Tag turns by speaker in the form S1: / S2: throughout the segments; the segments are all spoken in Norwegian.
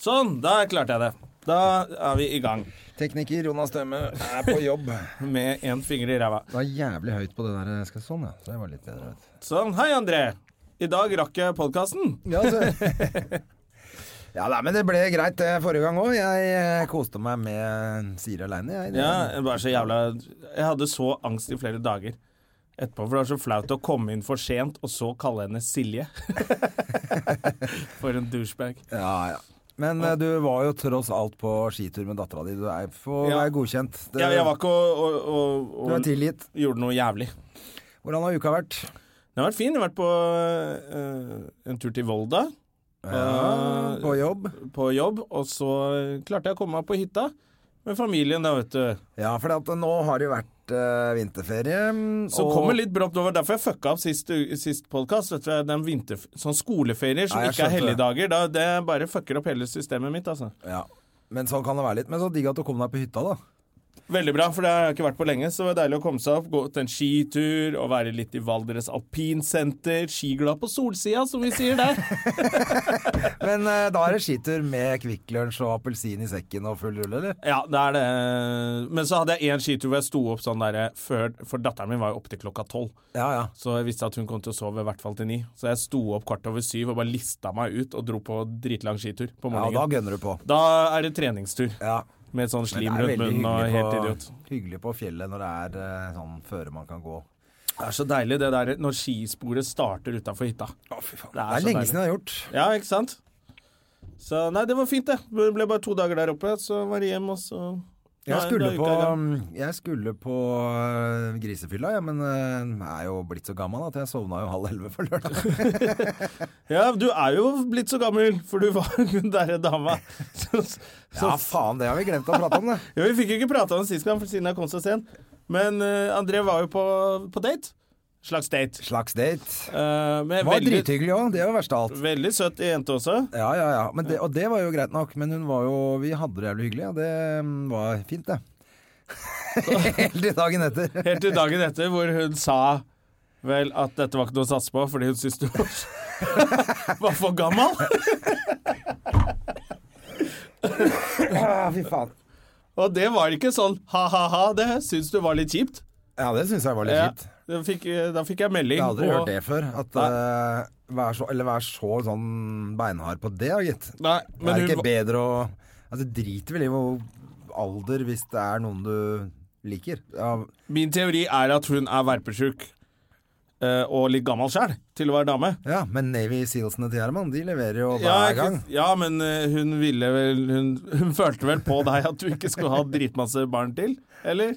S1: Sånn, da klarte jeg det. Da er vi i gang. Tekniker Jonas Stømme er på jobb med én finger i ræva.
S2: Det var jævlig høyt på det der. Jeg skal sånn, ja. Så det var litt bedre. Vet. du.
S1: Sånn, hei, André. I dag rakk jeg podkasten.
S2: Ja,
S1: altså.
S2: nei, men det ble greit det forrige gang òg. Jeg eh, koste meg med Siri aleine, jeg. Det-
S1: Ja, jeg var så jævla Jeg hadde så angst i flere dager etterpå, for det var så flaut å komme inn for sent og så kalle henne Silje. For en douchebag.
S2: ja, ja. Men eh, du var jo tross alt på skitur med dattera di. Du er, for,
S1: Ja.
S2: er godkjent. Det-
S1: Jeg, jeg var ikke og, og, og,
S2: Du er
S1: og
S2: tilgitt.
S1: gjorde noe jævlig.
S2: Hvordan har uka vært?
S1: Den har vært fin. Jeg har vært på øh, en tur til Volda
S2: Ja,
S1: Eh,
S2: på jobb?
S1: på jobb, og så klarte jeg å komme meg på hytta med familien, da, vet du.
S2: Ja, for det at nå har det jo vært eh, vinterferie.
S1: Så kommer litt brått over. Derfor jeg fucka opp sist, sist podkast. Sånn skoleferier som
S2: Ja, jeg
S1: ikke er
S2: skjønte det.
S1: helligdager. Da, det bare fucker opp hele systemet mitt, altså.
S2: ja. Men sånn kan det være litt. Men så digg at du kom deg på hytta, da.
S1: Veldig bra, for det har jeg ikke vært på lenge. Så det var deilig å komme seg opp, gå ut en skitur og være litt i Valdres alpinsenter. Skiglad på solsida, som vi sier der.
S2: Men eh, da er det skitur med Kvikk Lunsj og appelsin i sekken og full rulle, eller?
S1: Ja, det er det. Men så hadde jeg én skitur hvor jeg sto opp sånn derre før For datteren min var jo oppe til klokka tolv.
S2: Ja, ja.
S1: Så jeg visste at hun kom til å sove i hvert fall til ni. Så jeg sto opp kvart over syv og bare lista meg ut og dro på dritlang skitur på
S2: Ja, da
S1: morgenen.
S2: gønner du på.
S1: da... er det treningstur.
S2: Ja.
S1: Med sånn
S2: Men
S1: slim
S2: det er
S1: rundt
S2: veldig
S1: munnen og
S2: hyggelig
S1: helt
S2: på-
S1: idiot.
S2: Hyggelig på fjellet når det er eh, sånn føre man kan gå.
S1: Det er så deilig det der når skisporet starter utafor hytta.
S2: Det er,
S1: så
S2: lenge
S1: deilig.
S2: siden jeg har gjort.
S1: Ja, ikke sant? Så nei, det var fint, det. Det ble bare to dager der oppe, så var det hjem, og så
S2: Jeg
S1: Nei,
S2: skulle
S1: da gikk
S2: på, um,
S1: jeg i gang.
S2: jeg skulle på eh, grisefylla, ja, men eh, jeg er jo blitt så gammel at jeg sovna jo halv elleve på lørdag.
S1: Ja, du er jo blitt så gammel, for du var hun derre dama. Så, så,
S2: Ja, faen, det har vi glemt å prate om, det.
S1: ja, vi fikk jo ikke prata om det sist gang, for siden jeg kom så sent. Men eh, André var jo på, på date. Slags date.
S2: Slags date.
S1: Eh, men
S2: Det var
S1: veldig,
S2: drithyggelig òg, det var verst av alt.
S1: veldig søt jente også.
S2: Ja, ja, ja. Men det, og det var jo greit nok, men hun var jo Vi hadde det jævlig hyggelig, og det mm, var fint, det. Helt til dagen etter.
S1: Helt til dagen etter, hvor hun sa vel at dette var ikke noe å satse på, fordi hun syntes du var var for gammel.
S2: Ah, fy faen.
S1: Og det var ikke sånn ha-ha-ha, det syns du var litt kjipt.
S2: Ja, det syns jeg var litt
S1: Ja,
S2: kjipt.
S1: da fikk, da fikk jeg melding.
S2: Jeg har aldri
S1: og-
S2: hørt det før. At eh, vær så, eller vær så sånn beinhard på det, gitt.
S1: Nei,
S2: Det
S1: men
S2: er
S1: hun,
S2: ikke bedre å Altså, driter vel i hvor alder hvis det er noen du liker. Ja,
S1: min teori er at hun er verpesjuk eh, og litt gammel sjæl til å være dame.
S2: ja men Navy Sealsene til Herman, de leverer jo hver
S1: Ja, ikke-
S2: gang.
S1: ja, men eh, hun ville vel hun, hun følte vel på deg at du ikke skulle ha dritmasse barn til? Eller?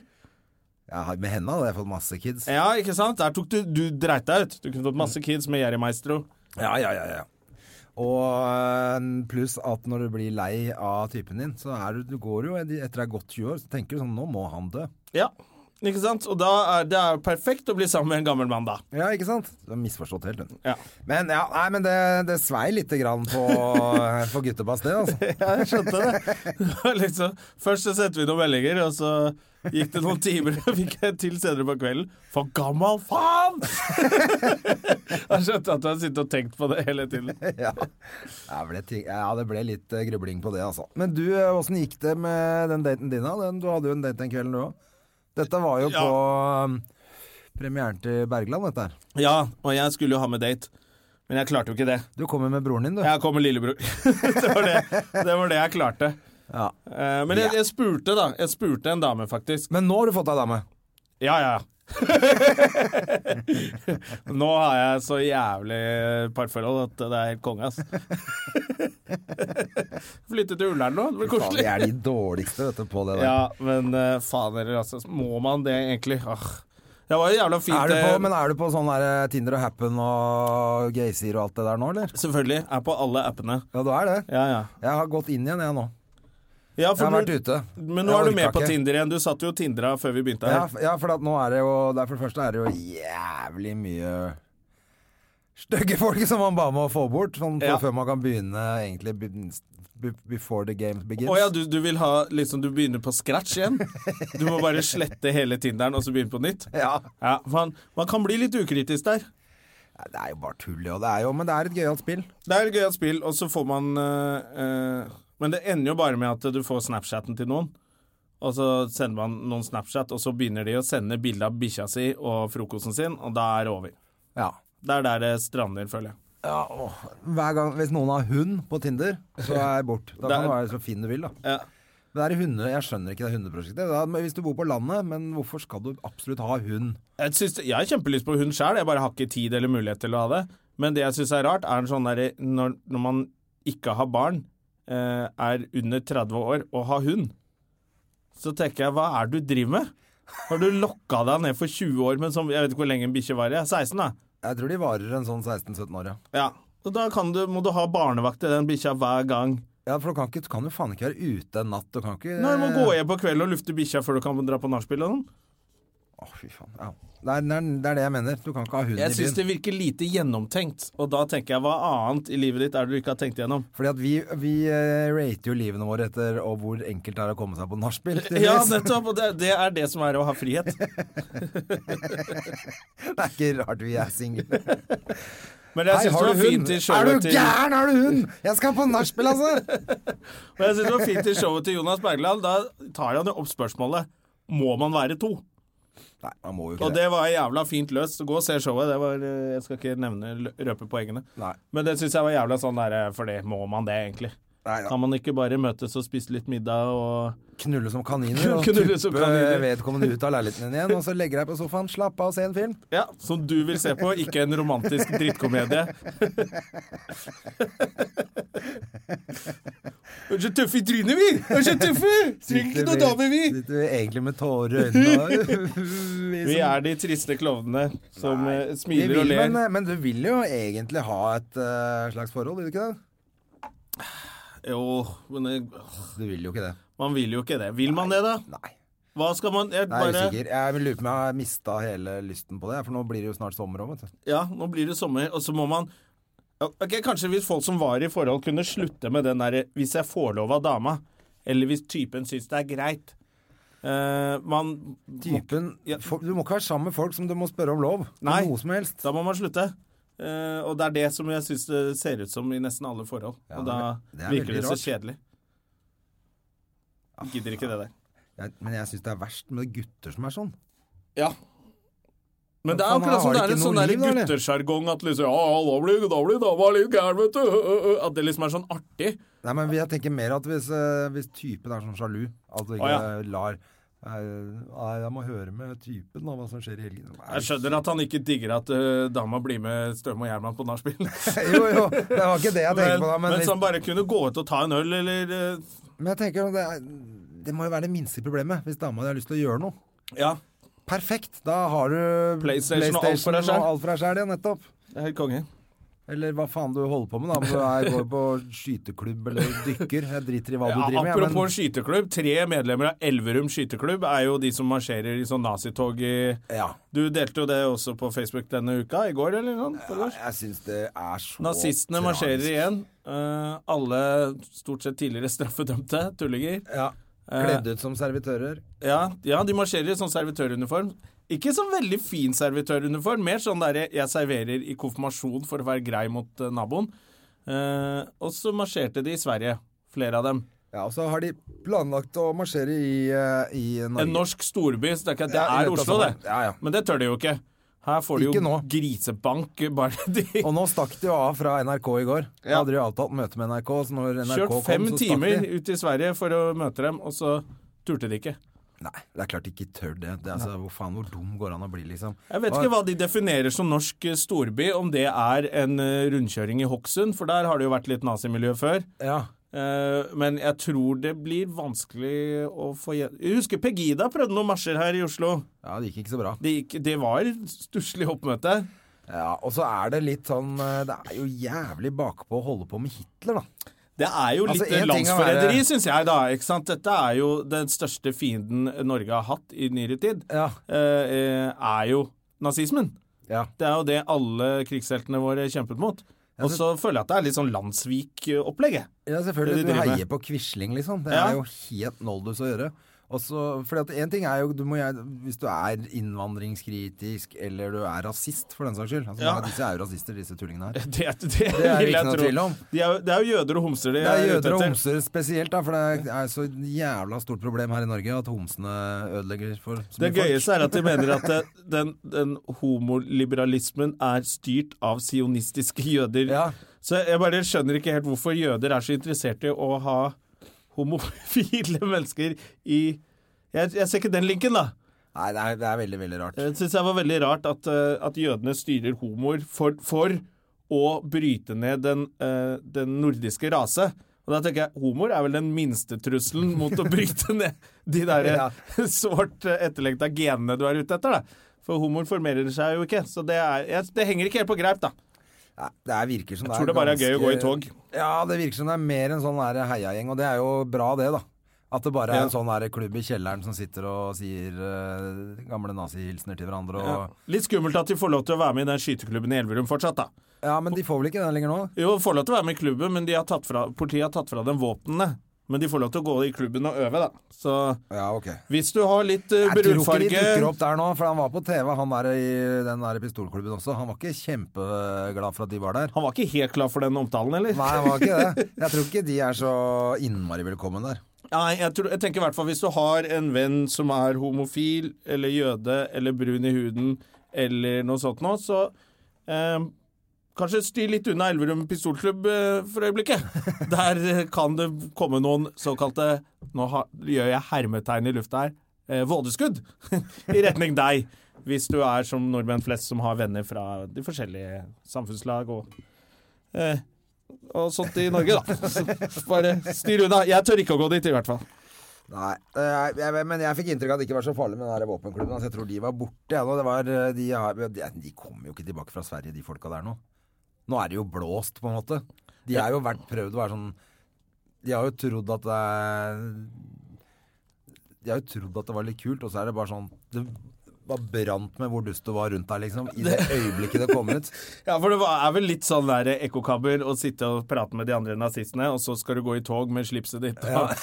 S2: Ja, med henne hadde jeg fått masse kids.
S1: Ja, ikke sant? Der tok du Du dreit deg ut. Du kunne fått masse kids med Jerry Maestro.
S2: Ja, ja, ja, ja. Og eh, pluss at når du blir lei av typen din, så er du, du går jo etter deg godt 20 år, så tenker du sånn Nå må han dø.
S1: Ja, ikke sant? Og da er det er jo perfekt å bli sammen med en gammel mann, da.
S2: Ja, ikke sant? Du har misforstått helt, hun.
S1: Ja.
S2: Men, ja, nei, men det, det svei lite grann på, eh, på guttebass, det, altså.
S1: Ja, jeg skjønte det. det var liksom, først så sendte vi noen meldinger, og så gikk det noen timer, og fikk jeg til senere på kvelden. For gammel faen! Jeg skjønte at du har sittet og tenkt på det hele tiden.
S2: Ja, det ble, ting- ja, det ble litt eh, grubling på det, altså. Men du, eh, åssen gikk det med den daten din, da? Den, du hadde jo en date den kvelden, du òg. Dette var jo
S1: Ja.
S2: på eh, premieren til Bergland, dette her.
S1: Ja, og jeg skulle jo ha med date, men jeg klarte jo ikke det.
S2: Du kommer med broren din, du.
S1: Jeg kom med lillebror. Det var det, det, var det jeg klarte.
S2: Ja.
S1: Eh, Men jeg, jeg spurte, da. Jeg spurte en dame, faktisk.
S2: Men nå har du fått deg dame.
S1: Ja, ja, ja. Nå har jeg så jævlig parforhold at det er helt konge, ass. Flytte til Ullern nå, det blir
S2: Faen, vi
S1: koselig.
S2: er de dårligste vet du, på det der.
S1: Ja, men eh, faen heller, altså. Må man det egentlig? Åh. Det var jo jævla fint. eh,
S2: Er du
S1: det-
S2: på, men er du på sånn der Tinder og Happen og Gaysir og alt det der nå, eller?
S1: Selvfølgelig. Er på alle appene.
S2: Ja, du er det.
S1: Ja, ja.
S2: Jeg har gått inn igjen, jeg nå.
S1: ja
S2: Jeg har
S1: for
S2: vært
S1: du,
S2: ute.
S1: men nå
S2: Jeg
S1: er du
S2: orka
S1: med på
S2: ikke.
S1: Tinder igjen. Du satt jo og Tindra før vi begynte
S2: Ja,
S1: her.
S2: f- ja, for at nå er det jo det er For det første er det jo jævlig mye stygge folk som man ba om å få bort, sånn
S1: Ja.
S2: før man kan begynne egentlig be- be- before the game begins.
S1: Å ja, du, du vil ha liksom Du begynner på scratch igjen? Du må bare slette hele Tinderen og så begynne på nytt?
S2: Ja.
S1: Ja, man, man kan bli litt ukritisk der.
S2: Nei, Det er jo bare tull, jo. Det er jo, men det er et gøyalt spill.
S1: Det er et gøyalt spill, og så får man eh, eh, Men det ender jo bare med at du får Snapchatten til noen. Og så sender man noen Snapchat, og så begynner de å sende bilde av bikkja si og frokosten sin, og da er det over.
S2: Ja.
S1: Det er der det strander, føler jeg.
S2: Hver gang, hvis noen har hund på Tinder, så er jeg bort. Da
S1: Det
S2: kan
S1: er-
S2: du være så fin du vil, da.
S1: Ja.
S2: Men det er hunde, jeg skjønner ikke det hundeprosjektet. Da, men hvis du bor på landet, men hvorfor skal du absolutt ha hund?
S1: Jeg, syns- jeg har kjempelyst på hund sjøl, jeg bare har ikke tid eller mulighet til å ha det. Men det jeg syns er rart, er en sånn derre når, når man ikke har barn, eh, er under 30 år og har hund, så tenker jeg hva er det du driver med? Har du lokka deg ned for 20 år med en sånn Jeg vet ikke hvor lenge en bikkje varer. jeg. 16, da.
S2: Jeg tror de varer en sånn 16-17 år, ja.
S1: Ja. Og da kan du, må du ha barnevakt til den bikkja hver gang.
S2: Ja, for du kan, ikke, du kan jo faen ikke være ute en natt. Du kan ikke
S1: Nei, du må gå hjem på kvelden og lufte bikkja før du kan dra på nachspiel og sånn.
S2: Å, fy faen. Ja. Det, er, det, er, det er det jeg mener. Du kan ikke ha hund
S1: Jeg
S2: i
S1: syns
S2: byen.
S1: det virker lite gjennomtenkt, og da tenker jeg hva annet i livet ditt er det du ikke har tenkt gjennom?
S2: Fordi at vi, vi eh, rater jo livene våre etter og hvor enkelt det er å komme seg på nachspiel.
S1: Ja,
S2: tydeligvis.
S1: nettopp. Og det, det er det som er å ha frihet.
S2: Det er ikke rart vi er single.
S1: Men jeg
S2: Hei,
S1: syns det var fint i
S2: Er
S1: showet
S2: du
S1: til
S2: gæren, har du hund?! Jeg skal på nachspiel, altså!
S1: Men jeg synes det var fint i showet til Jonas Bergland. Da tar han jo opp spørsmålet Må man være to?
S2: Nei, man må
S1: Og
S2: jo ikke det.
S1: det var jævla fint løst. Gå og se showet. Det var, eh, jeg skal ikke nevne lø- røpe poengene.
S2: Nei.
S1: Men det syns jeg var jævla sånn derre For det må man det, egentlig.
S2: Nei, ja.
S1: Kan man ikke bare møtes og spise litt middag og
S2: Knulle som kaniner og
S1: Knulle som
S2: tuppe
S1: kaniner.
S2: vedkommende ut av leiligheten din igjen, og så legge deg på sofaen, slappe av og se en film.
S1: Ja, som du vil se på, ikke en romantisk drittkomedie. Vi er så tøffe i trynet, vi! Vi er så tøffe! Trenger ikke noen damer, vi!
S2: Sitter vi egentlig med tårer i øynene. Vi
S1: Vi
S2: som-
S1: er de triste klovnene som eh,
S2: Vi
S1: smiler og
S2: vil,
S1: ler.
S2: men, men du vil jo egentlig ha et eh, slags forhold, vil du ikke det? eh.
S1: Jo, men det-
S2: Du vil jo ikke det.
S1: man vil jo ikke det. Vil man det, da?
S2: Nei.
S1: Hva skal man jeg,
S2: Nei, jeg er
S1: bare,
S2: usikker. Jeg lurer på om jeg har mista hele lysten på det, for nå blir det jo snart sommer òg, vet du.
S1: Ja, nå blir det sommer, og så må man Ja, Ok, Kanskje hvis folk som var i forhold, kunne slutte med den derre 'hvis jeg får lov av dama', eller hvis typen syns det er greit. Eh, man
S2: Typen
S1: Ja.
S2: for, Du må ikke være sammen med folk som du må spørre om lov. om
S1: Nei.
S2: Noe som helst.
S1: Da må man slutte. Eh, og det er det som jeg syns det ser ut som i nesten alle forhold.
S2: Ja,
S1: og da
S2: det- det er
S1: virker
S2: veldig
S1: det så
S2: rart. Ah,
S1: kjedelig. Gidder ikke det der.
S2: Jeg, men jeg syns det er verst med gutter som er sånn.
S1: Ja. Men det er
S2: Faen,
S1: akkurat
S2: har
S1: som det
S2: de
S1: er en
S2: ikke
S1: sånn
S2: noe
S1: der
S2: liv, da, eller?
S1: guttesjargong at liksom Ja, ja, da blir, da blir dama litt gæren, vet du. Ø, ø, ø. At det liksom er sånn artig.
S2: Nei, men jeg tenker mer at hvis, eh, hvis typen er sånn sjalu, at du ikke
S1: Å, ja.
S2: lar eh, Nei, jeg må høre med typen om hva som skjer i helgen. Nei,
S1: Jeg skjønner at han ikke digger at ø, dama blir med Støme og Gjerman på nachspiel.
S2: jo, jo, det var ikke det jeg tenkte
S1: Men,
S2: på da. Men,
S1: men
S2: hvis-
S1: så han bare kunne gå ut og ta en øl, eller eh, ø,
S2: Men jeg tenker at det, er, det må jo være det minste problemet hvis dama di har lyst til å gjøre noe.
S1: Ja,
S2: Perfekt! Da har du
S1: PlayStation og alt for deg selv.
S2: og alt for deg selv, ja, nettopp.
S1: det er helt konge.
S2: Eller hva faen du holder på med, da. Om du er, går på skyteklubb eller dykker. Jeg driter i hva du
S1: Ja,
S2: driver med.
S1: apropos
S2: men-
S1: skyteklubb, tre medlemmer av Elverum skyteklubb er jo de som marsjerer i sånn nazitog i
S2: ja,
S1: Du delte jo det også på Facebook denne uka, i går eller noe? forgårs?
S2: jeg syns det er så
S1: Nazistene
S2: tragisk.
S1: marsjerer igjen. Eh, alle stort sett tidligere straffedømte tullinger.
S2: Ja.
S1: Eh,
S2: Kledd ut som servitører.
S1: Ja, ja, de marsjerer i sånn servitøruniform. Ikke sånn veldig fin servitøruniform, mer sånn derre 'jeg serverer i konfirmasjon for å være grei mot eh, naboen'. Eh, og så marsjerte de i Sverige, flere av dem.
S2: Ja, Og så har de planlagt å marsjere i, eh, i Norge.
S1: En norsk storby, så det er, ikke at det
S2: Ja, i
S1: er
S2: løpet av
S1: Oslo,
S2: sommeren.
S1: det.
S2: Ja, ja.
S1: Men det tør de jo ikke. Her får de
S2: Ikke
S1: jo
S2: nå.
S1: grisebank bare de
S2: Og nå stakk de jo av fra NRK i går. Da hadde de jo avtalt møte med NRK. Så når NRK
S1: Kjørt
S2: kom,
S1: fem
S2: så stakk de.
S1: timer ut i Sverige for å møte dem, og så turte de ikke.
S2: Nei, det er klart de ikke tør det. det er altså, hvor faen hvor dum går han å bli, liksom?
S1: Jeg vet ikke hva de definerer som norsk eh, storby, om det er en eh, rundkjøring i Hokksund, for der har det jo vært litt nazimiljø før.
S2: Ja.
S1: Eh, men jeg tror det blir vanskelig å få gjen... Jeg husker Pegida prøvde noen marsjer her i Oslo.
S2: Ja, det gikk ikke så bra.
S1: Det, gikk, det var stusslig oppmøte.
S2: Ja, Og så er det litt sånn eh, Det er jo jævlig bakpå å holde på med Hitler, da.
S1: Det er jo litt
S2: Altså, en ting å
S1: landsforræderi,
S2: være-
S1: syns jeg, da. ikke sant? Dette er jo den største fienden Norge har hatt i nyere tid.
S2: Ja.
S1: Eh, eh, er jo nazismen.
S2: Ja.
S1: Det er jo det alle krigsheltene våre kjempet mot. Og så føler jeg at det er litt sånn landsvik-opplegget.
S2: Ja,
S1: Det
S2: selvfølgelig.
S1: de
S2: Du
S1: driver med.
S2: heier på Quisling, liksom. Det
S1: Ja.
S2: er jo helt noldus å gjøre. Og så- fordi at en ting er jo, du må, jeg- Hvis du er innvandringskritisk, eller du er rasist, for den saks skyld altså,
S1: Ja.
S2: Disse er jo rasister, disse tullingene her.
S1: Det, det,
S2: Det er det
S1: vil jeg
S2: ikke noe
S1: tro.
S2: tvil om.
S1: De er, jo- det er jo jøder og homser de
S2: Det er
S1: er ute
S2: jøder og
S1: etter.
S2: homser spesielt, da, for det er så jævla stort problem her i Norge at homsene ødelegger for så
S1: Det
S2: mye folk.
S1: gøyeste er at de mener at det, den, den homoliberalismen er styrt av sionistiske jøder.
S2: Ja.
S1: Så jeg bare skjønner ikke helt hvorfor jøder er så interessert i å ha homofile mennesker i Jeg, jeg ser ikke den linken, da.
S2: Nei, det er, det er veldig, veldig rart.
S1: Jeg syns Eh, det var veldig rart at, eh, at jødene styrer homoer for, for å bryte ned den, eh, den nordiske rase. Og da tenker jeg, Homoer er vel den minste trusselen mot å bryte ned de der eh,
S2: Ja.
S1: sårt eh, etterlengta genene du er ute etter. da. For homoer formerer seg jo ikke, så det, er, jeg, det henger ikke helt på greip. da.
S2: Nei, det er, virker som
S1: Jeg tror det bare er gøy å gå i tog.
S2: Ja, det virker som det er mer en sånn der heiagjeng, og det er jo bra det, da. At det bare er en sånn der klubb i kjelleren som sitter og sier eh, gamle nazihilsener til hverandre. Og, ja.
S1: Litt skummelt at de får lov til å være med i den skyteklubben i Elverum fortsatt. da.
S2: men de får vel ikke den lenger nå?
S1: Jo, får lov til å være med i klubben, men de har tatt fra, politiet har tatt fra dem våpnene. Men de får lov til å gå i klubben og øve, da. Så
S2: Ja, ok.
S1: hvis du har litt uh,
S2: Jeg tror ikke de
S1: brunfarge
S2: dukker opp der nå, for han var på TV, han der i den der pistolklubben også. Han var ikke kjempeglad for at de var der.
S1: Han var ikke helt klar for den omtalen, eller?
S2: Nei, han var ikke det. Jeg tror ikke de er så innmari velkommen der.
S1: Nei, jeg, tror, jeg tenker i hvert fall hvis du har en venn som er homofil, eller jøde, eller brun i huden, eller noe sånt nå, så eh, kanskje styr litt unna Elverum pistolklubb eh, for øyeblikket. Der eh, kan det komme noen såkalte Nå har, gjør jeg hermetegn i lufta her. Eh, vådeskudd i retning deg, hvis du er som nordmenn flest som har venner fra de forskjellige samfunnslag og eh, og sånt i Norge, da. Så Bare styr unna. Jeg tør ikke å gå dit, i hvert fall.
S2: Nei, eh, jeg, men jeg fikk inntrykk av at det ikke var så farlig med den der våpenklubben. Altså, jeg tror de var borte. Ja, nå. det var, eh, de, har- de, de kommer jo ikke tilbake fra Sverige, de folka der nå. Nå er det jo blåst, på en måte. De har jo vært prøvd å være sånn De har jo trodd at det er De har jo trodd at det var litt kult, og så er det bare sånn Det var brant med hvor dust du var rundt deg, liksom. I det øyeblikket det kom ut.
S1: Ja, for det var- er vel litt sånn der ekkokabber å sitte og prate med de andre nazistene, og så skal du gå i tog med slipset ditt og,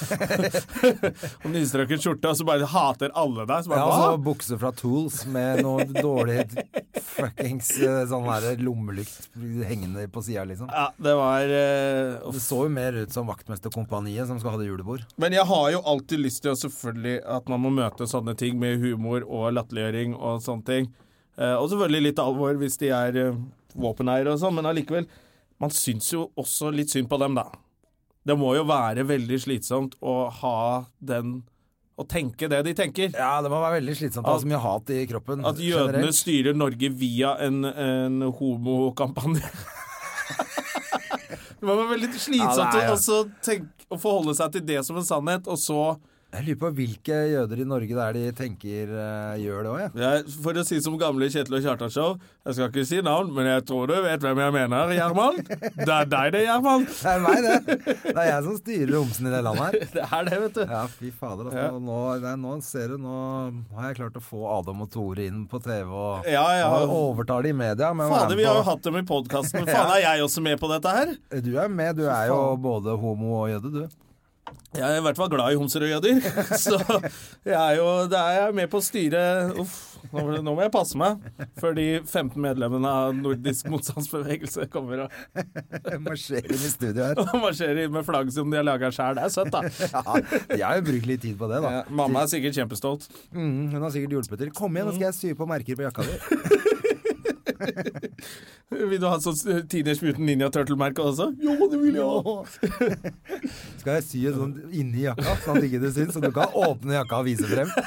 S1: og nystrøket skjorte, og så bare hater alle deg. Så bare,
S2: Ja, altså
S1: Hva?
S2: bukse fra Tools med noe dårlig fuckings eh, sånn her lommelykt hengende på sida, liksom.
S1: Ja, det var eh, uff.
S2: Det så jo mer ut som Vaktmesterkompaniet som skal ha det julebord.
S1: Men jeg har jo alltid lyst til å selvfølgelig at man må møte sånne ting med humor og latterliggjøring og sånne ting. Eh, og selvfølgelig litt alvor hvis de er eh, våpeneiere og sånn, men allikevel. Man syns jo også litt synd på dem, da. Det må jo være veldig slitsomt å ha den Å tenke det de tenker.
S2: Ja, det må være veldig slitsomt å ha så mye hat i kroppen.
S1: At jødene
S2: generelt.
S1: styrer Norge via en, en homokampanje. det var vel litt slitsomt
S2: Ja, det er, ja.
S1: å også tenke, å forholde seg til det som en sannhet, og så
S2: Jeg lurer på hvilke jøder i Norge det er de tenker eh, gjør det òg, jeg.
S1: jeg, For å si som gamle Kjetil og Kjartan Show, jeg skal ikke si navn, men jeg tror du vet hvem jeg mener, Gjerman. Det er deg det, Gjerman.
S2: Det er meg, det. Det er jeg som styrer homsen i det landet her.
S1: Det er det, vet du.
S2: Ja, fy fader. Altså, nå, nei, nå ser du, nå har jeg klart å få Adam og Tore inn på TV og
S1: Ja, ja.
S2: og overtar det i media. men være
S1: Fader,
S2: med
S1: vi har
S2: på-
S1: jo hatt dem i podkasten. Faen, er jeg også med på dette her?
S2: Du er med, du er jo både homo og jøde, du.
S1: Jeg er i hvert fall glad i homser og jøder, så jeg er jo det er jeg med på å styre Uff, nå, må- nå må jeg passe meg før de 15 medlemmene av nordisk motstandsbevegelse kommer og,
S2: Jeg marsjerer inn i studio her.
S1: og marsjerer inn med flagg som de har laga sjæl. Det er søtt, da.
S2: Ja, jeg har jo brukt litt tid på det, da.
S1: Ja, mamma er sikkert kjempestolt.
S2: Mm, hun har sikkert hjulpet til. Kom igjen, nå skal jeg sy på merker på jakka di.
S1: Vil du ha sånn Teenage Mutant Ninja Turtle-merke også? Jo, det vil jeg ha!
S2: Skal jeg sy en sånn inni jakka, sånn at ikke det syns, så du kan åpne jakka og vise frem.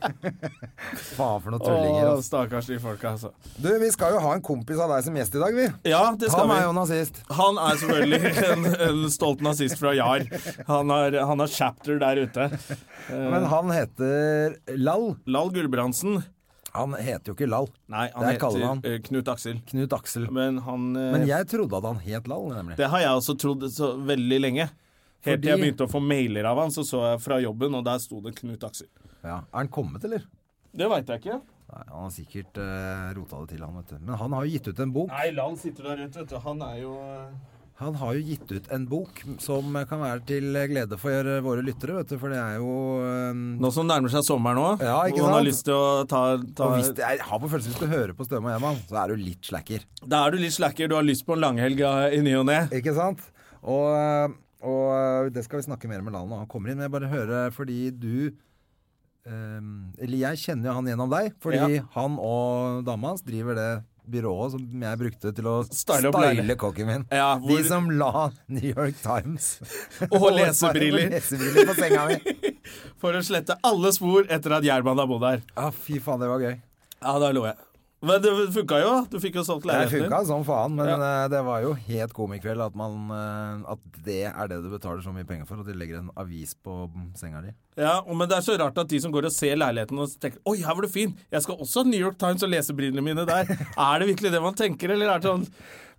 S2: Faen for noen tullinger.
S1: Å,
S2: Altså.
S1: stakkars de folka, altså.
S2: Du, vi skal jo ha en kompis av deg som gjest i dag, vi.
S1: Ja, det
S2: Ta
S1: skal
S2: meg
S1: vi.
S2: og nazist.
S1: Han er selvfølgelig en, en stolt nazist fra Jar. Han har, han har chapter der ute. Eh.
S2: Men han heter Lall.
S1: Lal Gulbrandsen
S2: Han heter jo ikke Lall.
S1: Nei, han
S2: Det er
S1: heter
S2: kallenavn.
S1: eh, Knut Aksel.
S2: Knut Aksel.
S1: Men han eh,
S2: Men jeg trodde at han het Lall, nemlig.
S1: Det har jeg også trodd så veldig lenge. Helt til jeg
S2: Fordi-
S1: begynte å få mailer av han, så så jeg fra jobben, og der sto det Knut Aksel.
S2: Ja. Er han kommet, eller?
S1: Det veit jeg ikke.
S2: Nei, han har sikkert eh, rota det til, han, vet du. Men han har jo gitt ut en bok.
S1: Nei, Lan sitter der ute, vet du. Han er jo eh,
S2: Han har jo gitt ut en bok som kan være til glede for våre lyttere, vet du, for det er jo eh,
S1: Nå som nærmer seg sommeren òg,
S2: Ja, ikke
S1: og man har
S2: sant?
S1: lyst til å ta, ta
S2: og hvis det, Jeg har på følelsen hvis du hører på Støme og Gjerman, så er du litt slacker.
S1: Da er du litt slacker, du har lyst på en langhelg eh, i ny og ne.
S2: Ikke sant? Og, eh, og eh, det skal vi snakke mer med Lan når han kommer inn. Men jeg bare hører fordi du eh, Eller jeg kjenner jo han gjennom deg, fordi han og dama hans driver det byrået som jeg brukte til å
S1: Style
S2: style,
S1: opp leilighet.
S2: kokken min.
S1: Ja, hvor-
S2: De som la New York Times
S1: Og lesebriller.
S2: og lesebriller på senga mi.
S1: For å slette alle spor etter at Gjerman har bodd her.
S2: Ja, fy faen, det var gøy.
S1: Ja, da lo jeg. Men det funka jo. Du fikk jo solgt
S2: Det
S1: leiligheten
S2: funka
S1: din.
S2: som faen, men eh, det var jo helt komikveld at, man, eh, at det er det du betaler så mye penger for, at de legger en avis på mm, senga di.
S1: Ja, og- men det er så rart at de som går og ser leiligheten og tenker 'oi, her var du fin', jeg skal også ha New York Times og lesebrillene mine der. er det virkelig det man tenker, eller er det sånn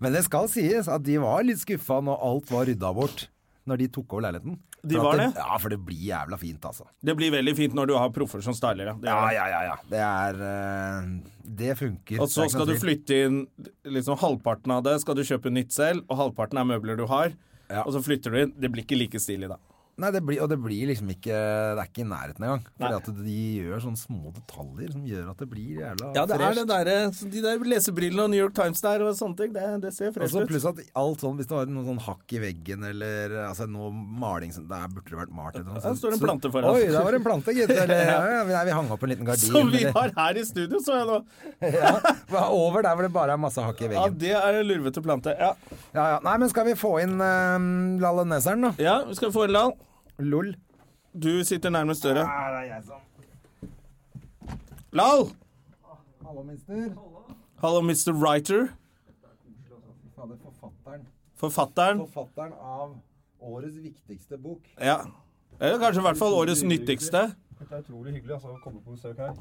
S2: Men det skal sies at de var litt skuffa når alt var rydda bort. Når de tok over leiligheten.
S1: De
S2: For at
S1: var det?
S2: Ja, for det blir jævla fint, altså.
S1: Det blir veldig fint når du har proffer som styler, ja. Det er
S2: Ja,
S1: det.
S2: ja, ja. ja. Det er eh, Det funker.
S1: Og så
S2: Det er ikke
S1: skal
S2: noe
S1: du
S2: tvil.
S1: flytte inn liksom halvparten av det skal du kjøpe nytt selv, og halvparten er møbler du har.
S2: Ja.
S1: Og så flytter du inn. Det blir ikke like stilig da.
S2: Nei, det blir, og det blir liksom ikke Det er ikke i nærheten engang. Fordi at de gjør sånne små detaljer som gjør at det blir jævla
S1: Ja, det er
S2: fresht.
S1: det derre De der lesebrillene og New York Times der og sånne ting, det, det ser
S2: Og
S1: fresh ut.
S2: så Altså, pluss at alt sånn, hvis det var noen sånn hakk i veggen eller altså noe maling som- Der burde det vært malt eller noe
S1: Der
S2: sånt.
S1: står det en
S2: Så-
S1: plante foran.
S2: Oi, der var det en plante, gitt. Eller, ja, ja, nei, vi hang opp en liten gardin.
S1: Som vi
S2: eller-
S1: har her i studio, så jeg nå.
S2: ja, over der hvor det bare er masse hakk i
S1: Ja,
S2: veggen.
S1: det er en lurvete plante. Ja,
S2: Ja, ja. Nei, men skal vi få inn um, Lalle Neseren, da?
S1: ja vi skal få en lal.
S2: Lol.
S1: Du sitter nærmest døra. Lal!
S2: Hallo, minster.
S1: Hallo, Mr. Writer.
S2: Forfatteren.
S1: Forfatteren.
S2: Forfatteren av årets viktigste bok.
S1: Ja. Eller kanskje i hvert fall årets nyttigste.
S3: Det er utrolig hyggelig altså, å komme på besøk her.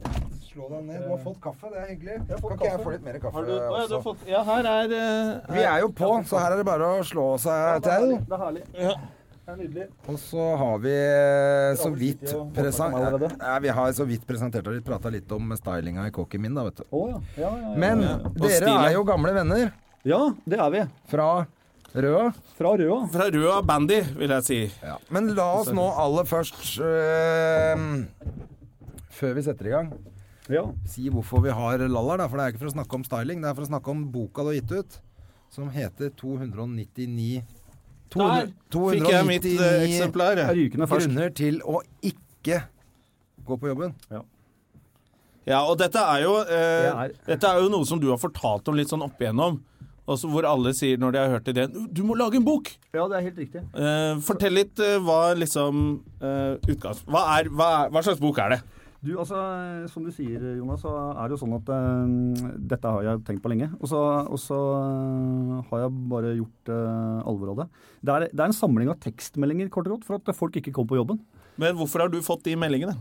S2: Slå deg ned. Du har fått kaffe, det er hyggelig.
S3: har fått
S2: Kan ikke jeg
S3: kaffe.
S2: få litt mer kaffe?
S1: Har du, å, ja, du har
S3: altså.
S2: også?
S1: fått, ja, her er eh,
S2: Vi er jo på, så her er det bare å slå seg til.
S3: Det er herlig.
S1: Ja.
S3: Det er nydelig.
S2: Og så har vi eh, så vidt,
S3: sittet og
S2: presen-
S3: pratet om allerede.
S2: Nei, vi har så vidt presentert og prata litt om stylinga i kåken min, da, vet du.
S3: Å ja. Ja, ja, ja.
S2: Men dere
S1: stilen.
S2: er jo gamle venner
S3: ja, det er vi.
S2: fra Røa.
S3: Fra Røa.
S1: fra Røa Bandy, vil jeg si.
S2: Men la oss nå aller først eh, Før vi setter i gang,
S3: Ja.
S2: si hvorfor vi har Laller, da. For det er ikke for å snakke om styling, det er for å snakke om boka du har gitt ut, som heter 299
S1: Der
S2: 200
S1: fikk jeg mitt eh,
S2: 299
S1: eksemplar. jeg.
S3: Rykende fersk.
S2: grunner til å ikke gå på jobben.
S1: Ja, og dette er, jo, eh,
S3: Det
S1: dette er jo noe som du har fortalt om litt sånn opp igjennom. Og så hvor alle sier når de har hørt ideen 'Du må lage en bok'!
S3: Ja, det er helt riktig.
S1: Eh, fortell litt eh, hva liksom eh, utgangs... Hva, er, hva, er, hva slags bok er det?
S3: Du, altså, Som du sier, Jonas, så er det jo sånn at eh, dette har jeg tenkt på lenge. Og så, og så eh, har jeg bare gjort eh, alvor av det. Det er, det er en samling av tekstmeldinger kort og godt, for at folk ikke kom på jobben.
S1: Men hvorfor har du fått de meldingene?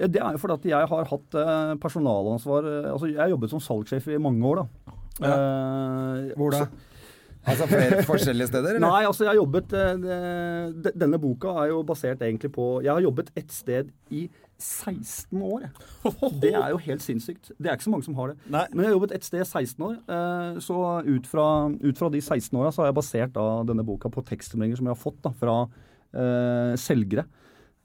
S3: Eh, Det er jo fordi at jeg har hatt eh, personalansvar eh, Altså, jeg har jobbet som salgssjef i mange år, da. Eh,
S2: Hvor da? Altså flere forskjellige steder, eller?
S3: Nei, altså jeg har jobbet eh, det- de- Denne boka er jo basert egentlig på Jeg har jobbet et sted i 16 år. jeg. Det er jo helt sinnssykt. Det er ikke så mange som har det.
S1: Nei.
S3: Men jeg har jobbet et sted i 16 år, eh, så ut fra, ut fra de 16 åra så har jeg basert da denne boka på tekstmeldinger som jeg har fått da, fra eh, selgere.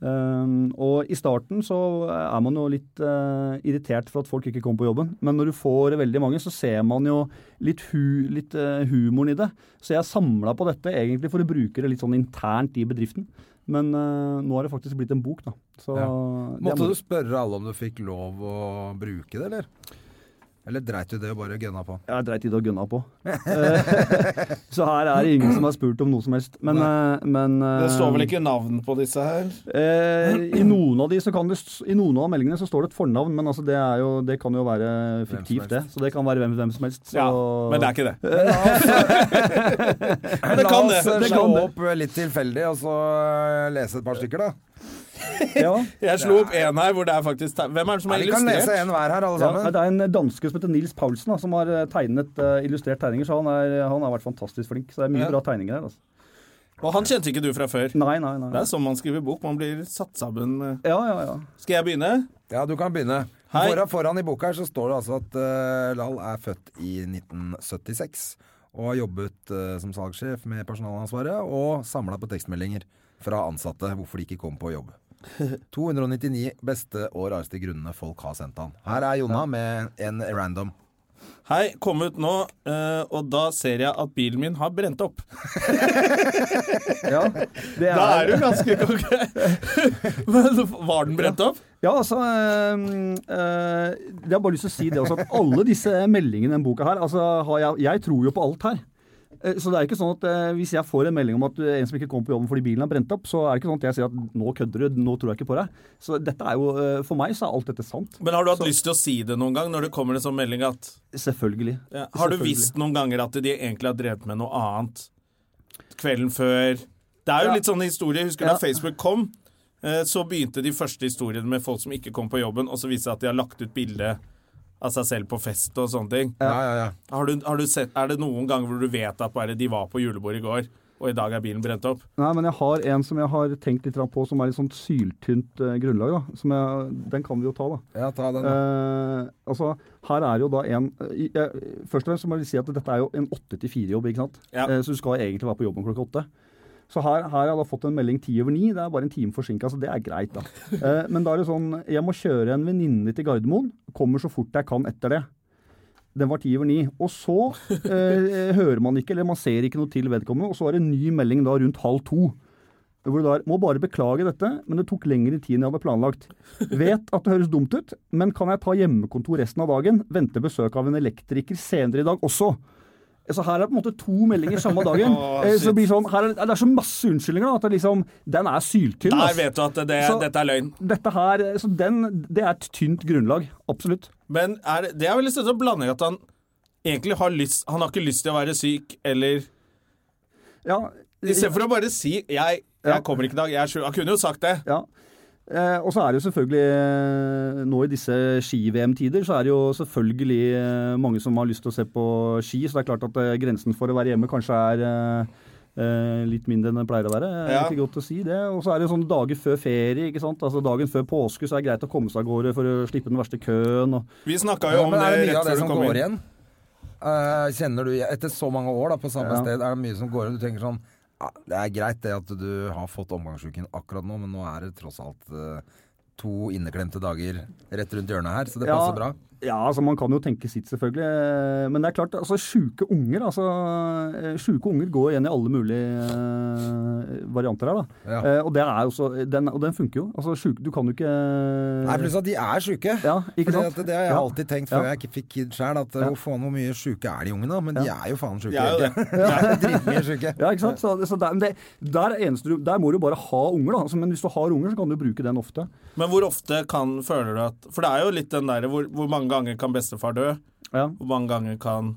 S3: Um, og i starten så er man jo litt eh, irritert for at folk ikke kommer på jobben. Men når du får veldig mange, så ser man jo litt, hu, litt eh, humoren i det. Så jeg samla på dette egentlig for å bruke det litt sånn internt i bedriften. Men eh, nå har det faktisk blitt en bok, da. Så det er
S2: Måtte
S3: moro.
S2: du spørre alle om du fikk lov å bruke det, eller? Eller dreit du det og bare gønna på?
S3: Jeg dreit i det og gunna på. Eh, så her er det ingen som har spurt om noe som helst. Men, eh, men eh,
S1: Det står vel ikke navn på disse her?
S3: Eh, I noen av de så kan det, s- i noen av meldingene så står det et fornavn, men altså det, er jo, det kan jo være fiktivt, det. Så det kan være hvem, hvem som helst. Så,
S1: Ja, men det er ikke det.
S2: Men
S1: det kan det.
S2: La oss
S1: Det
S2: slå
S1: kan det.
S2: opp litt tilfeldig, og så eh, lese et par stykker, da.
S3: ja.
S1: Jeg slo opp en her hvor det er faktisk te- Hvem er det som
S2: Nei,
S1: har
S2: vi kan lese
S1: illustrert?
S2: en hver her, alle
S3: Ja,
S2: sammen.
S3: det er en danske som heter Nils Paulsen, da, som har eh, tegnet eh, illustrert tegninger. Så han, er, han har vært fantastisk flink. Så det er mye
S1: Ja.
S3: bra tegninger her. Altså.
S1: Og han kjente ikke du fra før.
S3: Nei, nei, nei.
S1: Det er sånn man skriver bok. Man blir satt sammen. med-
S3: Ja, ja, ja.
S1: Skal jeg begynne?
S2: Ja, du kan begynne.
S1: Hei.
S2: Foran, foran i boka her så står det altså at eh, Lal er født i 1976 og har jobbet eh, som salgssjef med personalansvaret og samla på tekstmeldinger fra ansatte hvorfor de ikke kom på jobb. 299 beste og rareste grunnene folk har sendt han. Her er Jonna med en random.
S1: Hei, kom ut nå, eh, og da ser jeg at bilen min har brent opp.
S3: ja. Det
S1: Da er du ganske konge. Men var den brent opp?
S3: Ja, altså øhm, øh, Jeg har bare lyst til å si det også, at alle disse meldingene i denne boka her altså, har jeg, jeg tror jo på alt her. Eh, Så det er ikke sånn at eh, Hvis jeg får en melding om at eh, en som ikke kom på jobben fordi bilen er brent opp, så er det ikke sånn at jeg sier at nå kødder du, nå tror jeg ikke på deg. Så dette er jo, eh, For meg så er alt dette sant.
S1: Men har du hatt lyst til å si det noen gang når det kommer en sånn melding at
S3: Selvfølgelig.
S1: ja, Har du
S3: Selvfølgelig.
S1: visst noen ganger at de egentlig har drevet med noe annet kvelden før? Det er jo
S3: Ja.
S1: litt sånne historier. Husker du
S3: Ja.
S1: da Facebook kom? Eh, Så begynte de første historiene med folk som ikke kom på jobben, og så viste det seg at de har lagt ut bilde av seg selv på fest og sånne ting.
S2: Ja, ja, ja.
S1: Har du, har du sett, er det noen ganger hvor du vet at bare de var på julebord i går, og i dag er bilen brent opp?
S3: Nei, men jeg har en som jeg har tenkt litt grann på, som er litt sånn syltynt eh, grunnlag. da, som jeg, Den kan vi jo ta, da.
S2: ja ta den.
S3: Eh, altså, her er jo da en eh, jeg- Først og fremst så må jeg si at dette er jo en 8-4-jobb, ikke sant?
S1: Ja.
S3: Eh, så du skal egentlig være på jobb om klokka åtte. Så her, her har jeg da fått en melding ti over ni. Det er bare en time forsinka, så det er greit, da. Eh, men da er det sånn Jeg må kjøre en venninne til Gardermoen. Kommer så fort jeg kan etter det. Den var ti over ni. Og så eh, hører man ikke, eller man ser ikke noe til vedkommende, og så er det en ny melding da rundt halv to. Hvor det der, må bare beklage dette, men det tok lengre tid enn jeg hadde planlagt. Vet at det høres dumt ut, men kan jeg ta hjemmekontor resten av dagen? Vente besøk av en elektriker senere i dag også. Så her er det på en måte to meldinger samme dagen.
S1: Åh,
S3: Eh, så
S1: shit.
S3: det blir sånn, her er, det- det er så masse unnskyldninger da, at det liksom, den er syltynn.
S1: Der
S3: ass.
S1: vet du at det,
S3: Så-
S1: dette er løgn.
S3: Dette her, så den, det er et tynt grunnlag. Absolutt.
S1: Men er, det- det er vel en sånn blanding at han egentlig har lyst Han har ikke lyst til å være syk, eller
S3: Ja,
S1: Istedenfor å bare si 'jeg,
S3: Ja.
S1: jeg kommer ikke i dag', jeg er sjuk. Han kunne jo sagt det.
S3: Ja. Eh, og så er det jo selvfølgelig eh, Nå i disse ski-VM-tider så er det jo selvfølgelig eh, mange som har lyst til å se på ski, så det er klart at eh, grensen for å være hjemme kanskje er eh, eh, litt mindre enn den pleier å være. Det
S1: Ja.
S3: er ikke godt å si det. Og så er det sånne dager før ferie, ikke sant. Altså dagen før påske så er det greit å komme seg av gårde for å slippe den verste køen. Og...
S1: Vi snakka jo
S2: Ja,
S1: om
S2: men er det
S1: det rett
S2: mye av
S1: før
S2: det
S1: du
S2: som
S1: kom
S2: går
S1: inn.
S2: igjen? Eh, kjenner du Etter så mange år da, på samme
S3: Ja.
S2: sted, er det mye som går igjen? Du tenker sånn ja, Det er greit det at du har fått omgangsuken akkurat nå, men nå er det tross alt eh, to inneklemte dager rett rundt hjørnet her, så det passer bra.
S3: Ja, altså man kan jo tenke sitt, selvfølgelig. eh, Men det er klart, altså sjuke unger altså, eh, Sjuke unger går igjen i alle mulige eh, varianter her, da.
S2: Ja.
S3: Eh, og, det er også, den, og den funker jo. Altså, sjuk, du kan jo ikke
S2: Nei, pluss at de er sjuke.
S3: Ja, ikke
S2: Fordi
S3: sant?
S2: at det har jeg
S3: Ja.
S2: alltid tenkt før
S3: Ja.
S2: jeg ikke fikk kid sjøl, at eh, hvor faen hvor mye sjuke er de ungene? da? Men de er jo faen sjuke.
S1: Jeg er jo det.
S2: Dritmye sjuke.
S3: Ja, ikke sant? Så, så der, men det, der, er eneste, du- der må du bare ha unger, da. Altså, men hvis du har unger, så kan du bruke den ofte.
S1: Men hvor ofte kan føler du at For det er jo litt den derre hvor, hvor mange ganger kan bestefar dø?
S3: Ja.
S1: Hvor mange ganger kan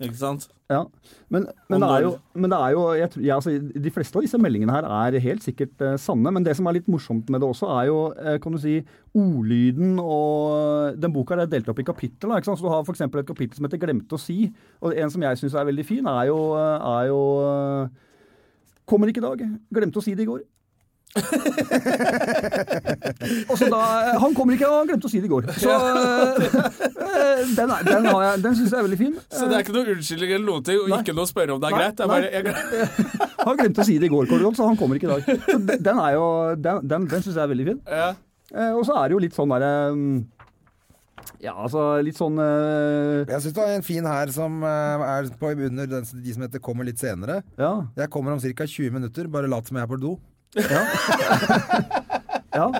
S1: Ikke sant?
S3: Ja, men, men, det er jo, men det er jo jeg, tror- jeg, altså, De fleste av disse meldingene her er helt sikkert eh, sanne. Men det som er litt morsomt med det også, er jo eh, kan du si, ordlyden og Den boka her er delt opp i kapittel. da, Ikke sant? Så du har f.eks. et kapittel som heter 'Glemte å si'. Og en som jeg syns er veldig fin, er jo, er jo eh, 'Kommer ikke i dag. Glemte å si det i går'. Og så da, eh, Han kommer ikke, og han glemte å si det i går. Så eh, den, er- den, har jeg- den syns jeg er veldig fin.
S1: Så det er ikke noe unnskyldning eller noen ting, og ikke noe å spørre om det er
S3: Nei,
S1: greit. Det er
S3: nei.
S1: bare, jeg,
S3: Han glemte å si det i går, Kordon, så han kommer ikke i dag. Så de- den er jo, den, den, den syns jeg er veldig fin.
S1: ja.
S3: Eh, og så er det jo litt sånn derre mm, Ja, altså litt sånn eh,
S2: Jeg syns du har en fin her som eh, er på under den, de som heter 'Kommer litt senere'.
S3: Ja.
S2: Jeg kommer om ca. 20 minutter, bare lat som jeg er på do.
S3: Ja.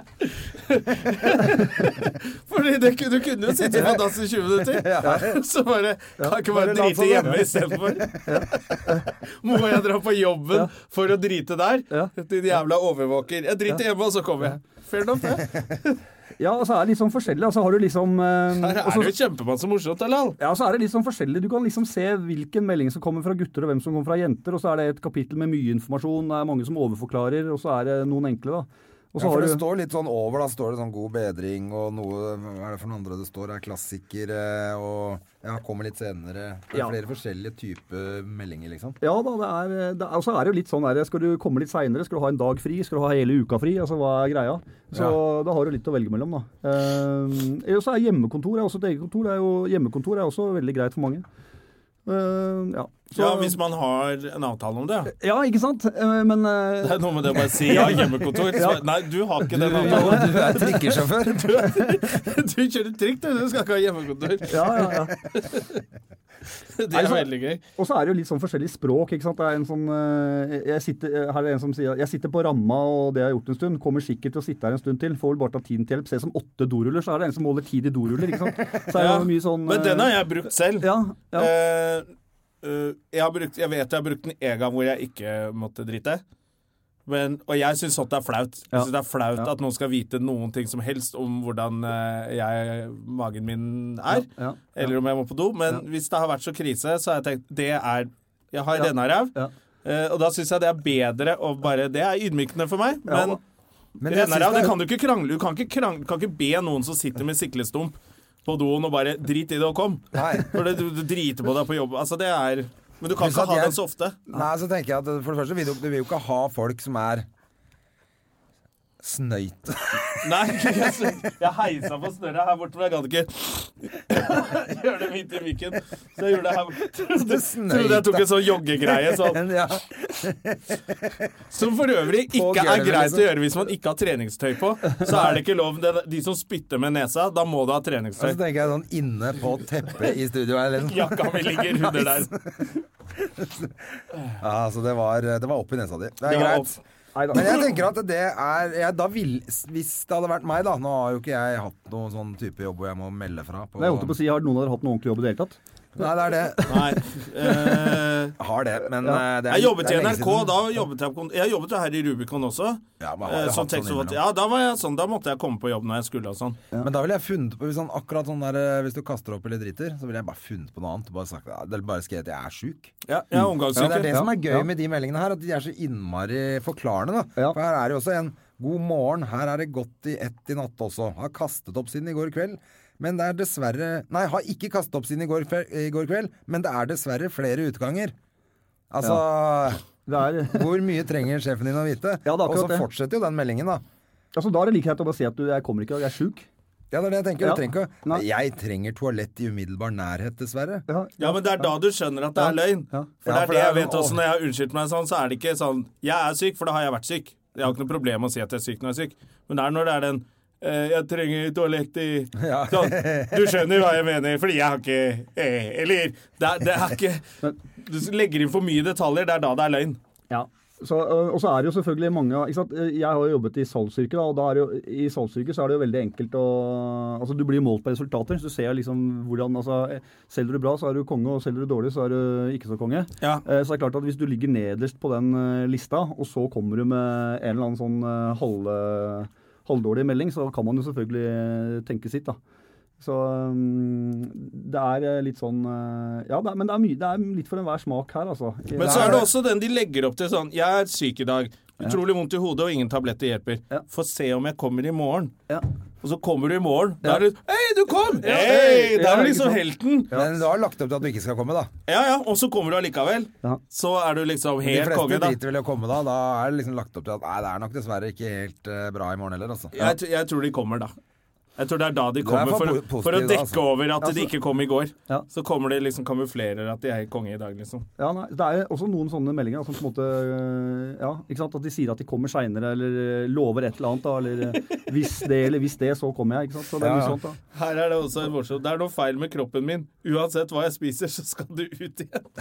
S1: Fordi det, kunne- du kunne jo sitte på dass i 20 minutter. Så bare Kan ikke bare
S3: Bare la
S1: drite
S3: sånn, ja.
S1: hjemme istedenfor. Må jeg dra på jobben for å drite der?
S3: Ja.
S1: Din jævla overvåker. Jeg driter hjemme, og så kommer jeg. Fair enough, det.
S3: ja, og så er det litt sånn forskjellig. Altså, har du liksom eh,
S1: Her
S3: og så-
S1: er det jo kjempemasse morsomt, Alal.
S3: Ja, så er det litt sånn forskjellig. Du kan liksom se hvilken melding som kommer fra gutter, og hvem som kommer fra jenter. Og så er det et kapittel med mye informasjon. Det er mange som overforklarer, og så er det noen enkle, da. Og så
S2: Ja, for det
S3: har du
S2: står litt sånn over, da står det sånn god bedring og noe Hva er det for noen andre det står? Er klassiker eh, og Ja, kommer litt senere. Det er
S3: Ja.
S2: flere forskjellige typer meldinger, liksom.
S3: Ja da, det er, det er, og så er det jo litt sånn der, skal du komme litt seinere, skal du ha en dag fri, skal du ha hele uka fri, altså hva er greia? Så da har du litt å velge mellom, da. Eh, og så er hjemmekontor er også et eget kontor. Det er jo, hjemmekontor er også veldig greit for mange. Eh, ja. Så-
S1: Ja, hvis man har en avtale om det. ja.
S3: ja, ikke sant? Eh, men eh,
S1: Det er noe med det å bare si ja, hjemmekontor. Så bare, Nei, du har ikke den avtalen.
S2: Du er trikkesjåfør.
S1: Du kjører trikk, du. Du skal ikke ha hjemmekontor.
S3: ja, ja, ja.
S1: Det er veldig gøy.
S3: Og så er det jo litt sånn forskjellig språk. ikke sant? Det er en sånn, eh, jeg sitter, her er det en som sier jeg sitter på ramma, og det har jeg gjort en stund. Kommer sikkert til å sitte her en stund til. Får vel bare ta tiden til hjelp. Se som åtte doruller, så er det en som måler tid i doruller. ikke sant? Så er det
S1: Ja.
S3: jo mye sånn...
S1: Men den har jeg brukt selv.
S3: Ja, ja.
S1: Eh, eh, jeg, har brukt, jeg vet jeg har brukt den en gang hvor jeg ikke måtte drite. Men, og jeg syns sånt er flaut. Jeg
S3: Ja.
S1: synes det er flaut
S3: Ja.
S1: At noen skal vite noen ting som helst om hvordan eh, jeg, magen min er,
S3: Ja, ja,
S1: eller om jeg må på do. Men hvis det har vært så krise, så har jeg tenkt det er Jeg har ja. rennaræv.
S3: Ja.
S1: Eh, og da syns jeg det er bedre å bare Det er ydmykende for meg, men
S2: Men jeg
S1: Renner
S2: synes
S1: av, det
S2: det
S1: kan du ikke krangle Du kan ikke, krang- kan ikke be noen som sitter med siklestump på doen og bare drit i det og kom.
S2: Nei.
S1: For det, du, du driter på deg på jobb. Altså, det er Men du kan
S2: Pluss
S1: ikke
S2: at
S1: ha
S2: jeg-
S1: den så ofte.
S2: Nei, så tenker jeg at for det første vil du, du vil jo ikke ha folk som er snøyt.
S1: Nei, jeg, jeg heisa på snørra her borte, men jeg gadd ikke gjøre det midt i mikken. Så jeg gjorde det her borte. Trodde, trodde jeg tok en sånn joggegreie sånn.
S2: ja.
S1: Som for øvrig
S2: På
S1: ikke er
S2: gulvet,
S1: greit
S2: liksom.
S1: å gjøre hvis man ikke har treningstøy på. Så er det ikke lov. Det er De som spytter med nesa, da må du ha
S2: Og så
S1: treningstøy.
S2: tenker jeg sånn inne på teppet i studio her. Liksom.
S1: Jakka mi ligger under der.
S2: Ja, så det var, det var opp i nesa di. Det er
S1: Det var
S2: greit.
S1: opp.
S3: Nei da.
S2: Men jeg tenker at det er jeg, da vil, Hvis det hadde vært meg, da Nå har jo ikke jeg hatt noen sånn type jobb hvor jeg må melde fra. På,
S3: Jeg holdt på å si, Har noen av dere hatt noen ordentlig jobb i det hele tatt?
S2: Nei, det er det.
S1: Nei. eh,
S2: Har det, men eh, det er,
S1: Jeg jobbet i
S2: det er lenge
S1: NRK,
S2: siden.
S1: da jobbet jeg, på kon- jeg jobbet jo her i Rubicon også.
S2: Ja, men har
S1: eh, som
S2: jeg hatt sånn
S1: tekstforfatter.
S2: innimellom?
S1: ja, da var jeg sånn, da måtte jeg komme på jobb når jeg skulle og sånn.
S2: Men da ville jeg funnet på hvis, han akkurat sånn der, eh, hvis du kaster opp eller driter, så ville jeg bare funnet på noe annet. Bare, sagt, ja, eller bare skrevet at jeg er sjuk.
S1: Ja, jeg er
S2: Men Mm. det er
S1: omgangssyke.
S2: det som er gøy
S3: Ja.
S2: med de meldingene her, at de er så innmari forklarende. Da.
S3: Ja.
S2: For her er det jo også en 'god morgen', her er det godt i ett i natt også. Har kastet opp siden i går kveld. Men det er dessverre Nei, har ikke kastet opp siden i går, kve- i går kveld, men det er dessverre flere utganger. Altså
S3: Det er,
S2: Hvor mye trenger sjefen din å vite?
S3: Ja, det er
S2: Og så
S3: akkurat det.
S2: fortsetter jo den meldingen, da.
S3: altså, da er det like greit å bare si at du, jeg kommer ikke, jeg er sjuk.
S2: Ja, det er det jeg tenker.
S3: Ja.
S2: Du trenger ikke å
S3: Nei.
S2: Jeg trenger toalett i umiddelbar nærhet, dessverre.
S3: Ja,
S1: Ja, men det er da du skjønner at det er løgn.
S3: Ja.
S1: For det
S2: Ja,
S1: er det
S2: for det er
S1: jeg vet
S2: sånn,
S1: også når jeg har unnskyldt meg sånn, så er det ikke sånn Jeg er syk, for da har jeg vært syk. Jeg har ikke noe problem med å si at jeg er syk når jeg er syk. Men det er når det er den eh, jeg trenger toalett i
S2: Ja.
S1: sånn, Du skjønner hva jeg mener, fordi jeg har ikke eh, Eller det er, det er ikke Du legger inn for mye detaljer, det er da det er løgn.
S3: Ja. Så, øh, og så er det jo selvfølgelig mange av- ikke sant? øh, Jeg har jo jobbet i salgsyrket, da, og da er det jo, i salgsyrket så er det jo veldig enkelt å altså Du blir målt på resultater. så Du ser liksom hvordan altså, eh, Selger du bra, så er du konge, og selger du dårlig, så er du ikke så konge.
S1: Ja.
S3: Eh, Så det er klart at hvis du ligger nederst på den eh, lista, og så kommer du med en eller annen sånn eh, halv, halvdårlig melding, så kan man jo selvfølgelig eh, tenke sitt, da. Så um, det er eh, litt sånn eh, Ja, det er, men det er, mye, det er litt for enhver smak her, altså.
S1: Men så er det også den de legger opp til sånn Jeg er syk i dag. Utrolig vondt i hodet, og ingen tabletter hjelper.
S3: Ja.
S1: Få se om jeg kommer i morgen.
S3: Ja.
S1: Og så kommer du i morgen. Da er du Hei, du kom! Hei! Da
S3: Ja,
S1: er du
S3: ikke
S1: liksom
S3: sant?
S1: helten.
S2: Men du har lagt opp til at du ikke skal komme, da.
S1: Ja ja, og så kommer du allikevel.
S3: Ja.
S1: Så er du liksom
S2: De
S1: helt
S2: fleste
S1: konge, da.
S2: driter vel i å komme da. Da er det liksom lagt opp til at nei, det er nok dessverre ikke helt eh, bra i morgen heller, altså.
S1: Jeg, tr- jeg tror de kommer, da. Jeg tror det er da de kommer,
S2: for
S1: for,
S2: po-
S1: for å
S2: positiv,
S1: dekke
S2: altså.
S1: over at de ikke kom i går.
S3: Ja.
S1: Så kommer de liksom kamuflerer at de er konge i dag, liksom.
S3: Ja, nei, Det er også noen sånne meldinger som på en måte øh, Ja, ikke sant? At de sier at de kommer seinere, eller øh, lover et eller annet, da. Eller øh, hvis det eller hvis det, så kommer jeg. ikke sant? Så det er mye
S2: Ja, ja.
S3: sånt, da.
S1: Her er det også en morsom Det er noe feil med kroppen min. Uansett hva jeg spiser, så skal du ut igjen.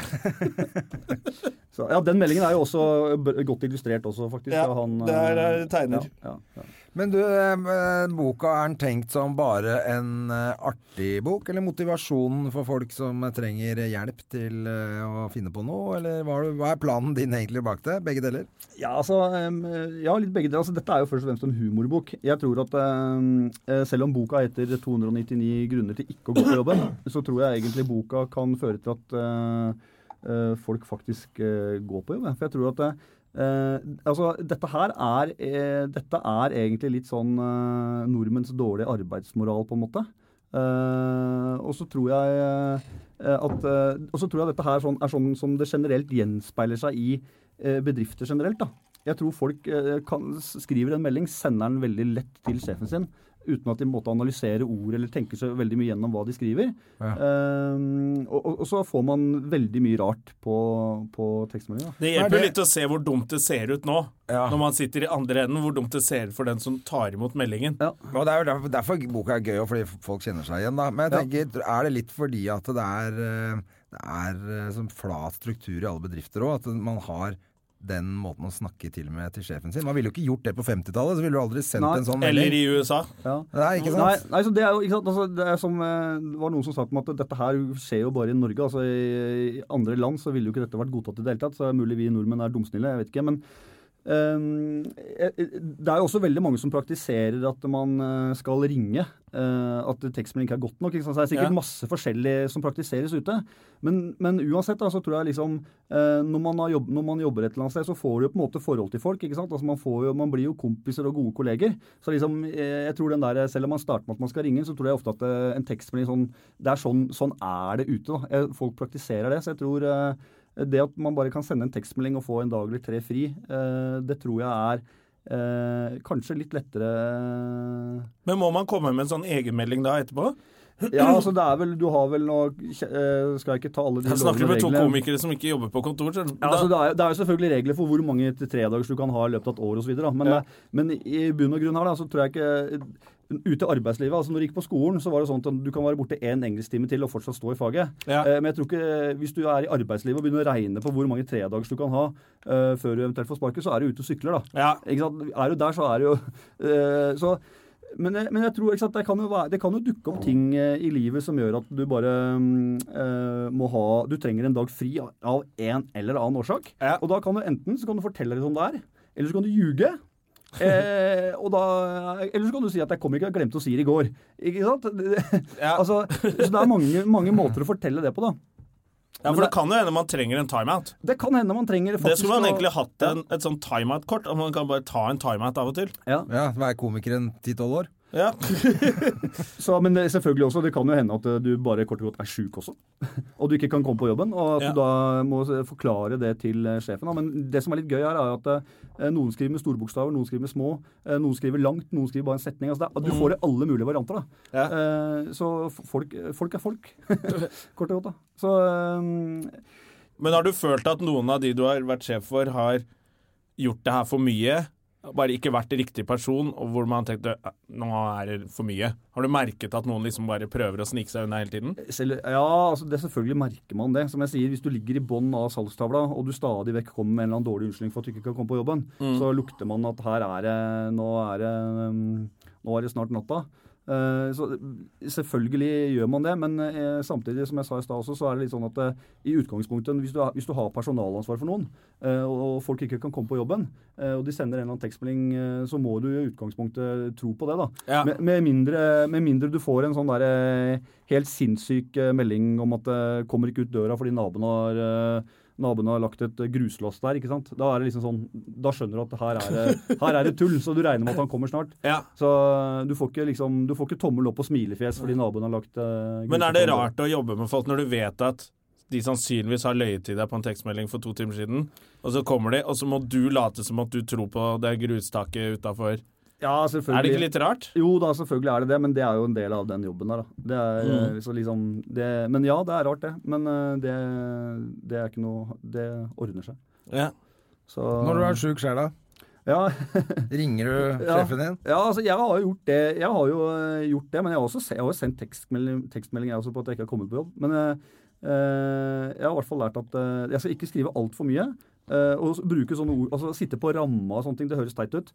S3: Så, ja, Den meldingen er jo også eh, b- godt illustrert også, faktisk.
S1: Ja,
S3: av han,
S1: det er-
S3: eh,
S1: er tegner.
S3: Ja, ja, ja.
S2: Men du, eh, boka er den tenkt som bare en eh, artig bok, eller motivasjonen for folk som trenger hjelp til eh, å finne på noe, eller hva er- hva er planen din egentlig bak det? Begge deler?
S3: Ja, altså, em, ja, litt begge deler. Altså, dette er jo først og fremst en humorbok. Jeg tror at em, eh, Selv om boka heter 299 grunner til ikke å gå på jobben, så tror jeg egentlig boka kan føre til at eh, eh, folk faktisk eh, går på jobb. jeg. For jeg tror at eh, altså, dette her er, eh, dette er egentlig litt sånn eh, nordmenns dårlige arbeidsmoral, på en måte. Eh, og så tror jeg eh, at eh, Og så tror jeg dette her sånn, er sånn som det generelt gjenspeiler seg i eh, bedrifter generelt. da. Jeg tror folk eh, kan, skriver en melding, sender den veldig lett til sjefen sin. Uten at de måtte analysere ord eller tenke så veldig mye gjennom hva de skriver. Eh, og, og, og så får man veldig mye rart på, på tekstmeldinga.
S1: Det
S2: Hva
S1: hjelper jo
S2: er det?
S1: litt å se hvor dumt det ser ut nå,
S2: Ja.
S1: når man sitter i andre enden, hvor dumt det ser ut for den som tar imot meldingen.
S3: Ja.
S2: Og det er jo derfor, derfor boka er gøy, og fordi folk kjenner seg igjen, da. Men jeg tenker, er det litt fordi at det er, eh, det er eh, sånn flat struktur i alle bedrifter òg? At man har den måten å snakke til med til sjefen sin? Man ville jo ikke gjort det på 50-tallet, så ville du aldri sendt
S3: Nei.
S2: en sånn
S1: Eller
S2: melding.
S1: i USA.
S3: Ja.
S2: Nei, ikke
S3: Nei,
S2: sant?
S3: nei, så det er jo ikke sant, altså, det er som, eh, det var noen som sa på meg at dette her skjer jo bare i Norge. altså I, i andre land så ville jo ikke dette vært godtatt i det hele tatt, så det er mulig vi nordmenn er dumsnille. jeg vet ikke, men eh, eh, det er jo også veldig mange som praktiserer at man eh, skal ringe. eh, at tekstmelding ikke er godt nok. Ikke sant? Så det er sikkert
S1: Ja.
S3: masse forskjellig som praktiseres ute. Men, men uansett da, så tror jeg liksom eh, når, man har jobb, når man jobber et eller annet sted, så får du jo på en måte forhold til folk. ikke sant? Altså man, får jo, man blir jo kompiser og gode kolleger. Så liksom, eh, jeg tror den der, Selv om man starter med at man skal ringe, så tror jeg ofte at eh, en tekstmelding sånn det er sånn, sånn er det ute. da. Eh, Folk praktiserer det. Så jeg tror eh, det at man bare kan sende en tekstmelding og få en dag eller tre fri, eh, det tror jeg er eh, kanskje litt lettere
S1: Men må man komme med en sånn egenmelding da etterpå?
S3: Ja, altså det er vel Du har vel nå eh, Skal jeg ikke ta alle de
S1: Jeg snakker
S3: lovene og
S1: med to
S3: reglene?
S1: komikere som ikke jobber på kontor. skjønner du.
S3: Ja, altså det, er, det er jo selvfølgelig regler for hvor mange til tredagers du kan ha i løpet av et år osv. Men,
S1: Ja.
S3: eh, men i bunn og grunn her, da, så tror jeg ikke eh, Ute i arbeidslivet, altså når du gikk på skolen, så var det sånn at du kan være borte én engelsktime til og fortsatt stå i faget.
S1: Ja.
S3: Eh, Men jeg tror ikke, hvis du er i arbeidslivet og begynner å regne på hvor mange tredagers du kan ha eh, før du eventuelt får sparket, så er du ute og sykler, da.
S1: Ja.
S3: Ikke sant? Er du der, så er du jo eh, så, men, jeg- men jeg tror ikke sant, det, kan jo være, det kan jo dukke opp ting eh, i livet som gjør at du bare mm, eh, må ha Du trenger en dag fri av- av en eller annen årsak.
S1: Ja.
S3: Og da kan du enten så kan du fortelle litt om det er, eller så kan du ljuge. Eh, og da, eller så kan du si at 'jeg kom ikke, jeg glemte å si det i går'. Ikke sant?
S1: Ja.
S3: Altså, så det er mange, mange måter å fortelle det på, da.
S1: Ja, for det kan jo hende man trenger en timeout.
S3: Det kan hende man trenger
S1: Det
S3: faktisk
S1: skulle man
S3: å-
S1: egentlig hatt en, et sånn timeout-kort, og man kan bare ta en timeout av og til.
S3: ja.
S2: Ja, Være komikeren 10-12 år?
S1: Ja.
S3: Så, men det- selvfølgelig også, det kan jo hende at eh, du bare kort og godt er sjuk også. Og du ikke kan komme på jobben. Og at
S1: Ja.
S3: du da må eh, forklare det til eh, sjefen. da. Men det som er litt gøy her, er jo at eh, noen skriver med store bokstaver, noen skriver med små, eh, noen skriver langt, noen skriver bare en setning. Altså det, er- du får i alle mulige varianter, da.
S1: Mm. Ja.
S3: Eh, Så folk, folk er folk. kort og godt, da. Så eh,
S1: Men har du følt at noen av de du har vært sjef for, har gjort det her for mye? Bare ikke vært riktig person, og hvor man tenkte "Eh, nå er det for mye. Har du merket at noen liksom bare prøver å snike seg unna hele tiden?
S3: selv, ja, altså det selvfølgelig merker man det. Som jeg sier, Hvis du ligger i bånn av salgstavla, og du stadig vekk kommer med en eller annen dårlig unnskyldning for at du ikke kan komme på jobben, så lukter man at her er det Nå er det, um, nå er det snart natta. Eh, Så selvfølgelig gjør man det, men eh, samtidig som jeg sa i stad også, så er det litt sånn at eh, i utgangspunktet, hvis du, har- hvis du har personalansvar for noen, eh, og og folk ikke kan komme på jobben, eh, og de sender en eller annen tekstmelding, eh, så må du i utgangspunktet tro på det, da.
S1: Ja.
S3: Med, med, mindre, med mindre du får en sånn der eh, helt sinnssyk eh, melding om at eh, kommer ikke ut døra fordi naboen har eh, Naboen har lagt et eh, gruslast der. ikke sant? Da er det liksom sånn, da skjønner du at her er det, her er det tull, så du regner med at han kommer snart.
S1: Ja.
S3: Så eh, du får ikke liksom, du får ikke tommel opp og smilefjes fordi naboen har lagt eh,
S1: Men er det
S3: gruslast på døra.
S1: rart å jobbe med folk når du vet at de sannsynligvis har løyet til deg på en tekstmelding for to timer siden, og så kommer de, og så må du late som at du tror på det grustaket utafor.
S3: Ja,
S1: Er det
S3: selvfølgelig.
S1: ikke litt rart?
S3: Jo da, selvfølgelig er det det, men det er jo en del av den jobben der, da. Det er, eh,
S1: Mm.
S3: så liksom, det, men ja, det er rart, det. Men eh, det, det er ikke noe Det ordner seg.
S1: Ja.
S3: Så,
S2: Når du er sjuk sjæl, da?
S3: Ja,
S2: Ringer du
S3: Ja.
S2: sjefen din?
S3: ja altså, jeg har jo gjort det, jeg har jo eh, gjort det men jeg har også se- jeg har jo sendt tekstmelding, tekstmelding jeg også på at jeg ikke har kommet på jobb. Men eh, Eh, jeg har i hvert fall lært at eh, jeg skal ikke skrive altfor mye. eh, og s- bruke sånne ord, altså Sitte på ramma og sånne ting. Det høres teit ut.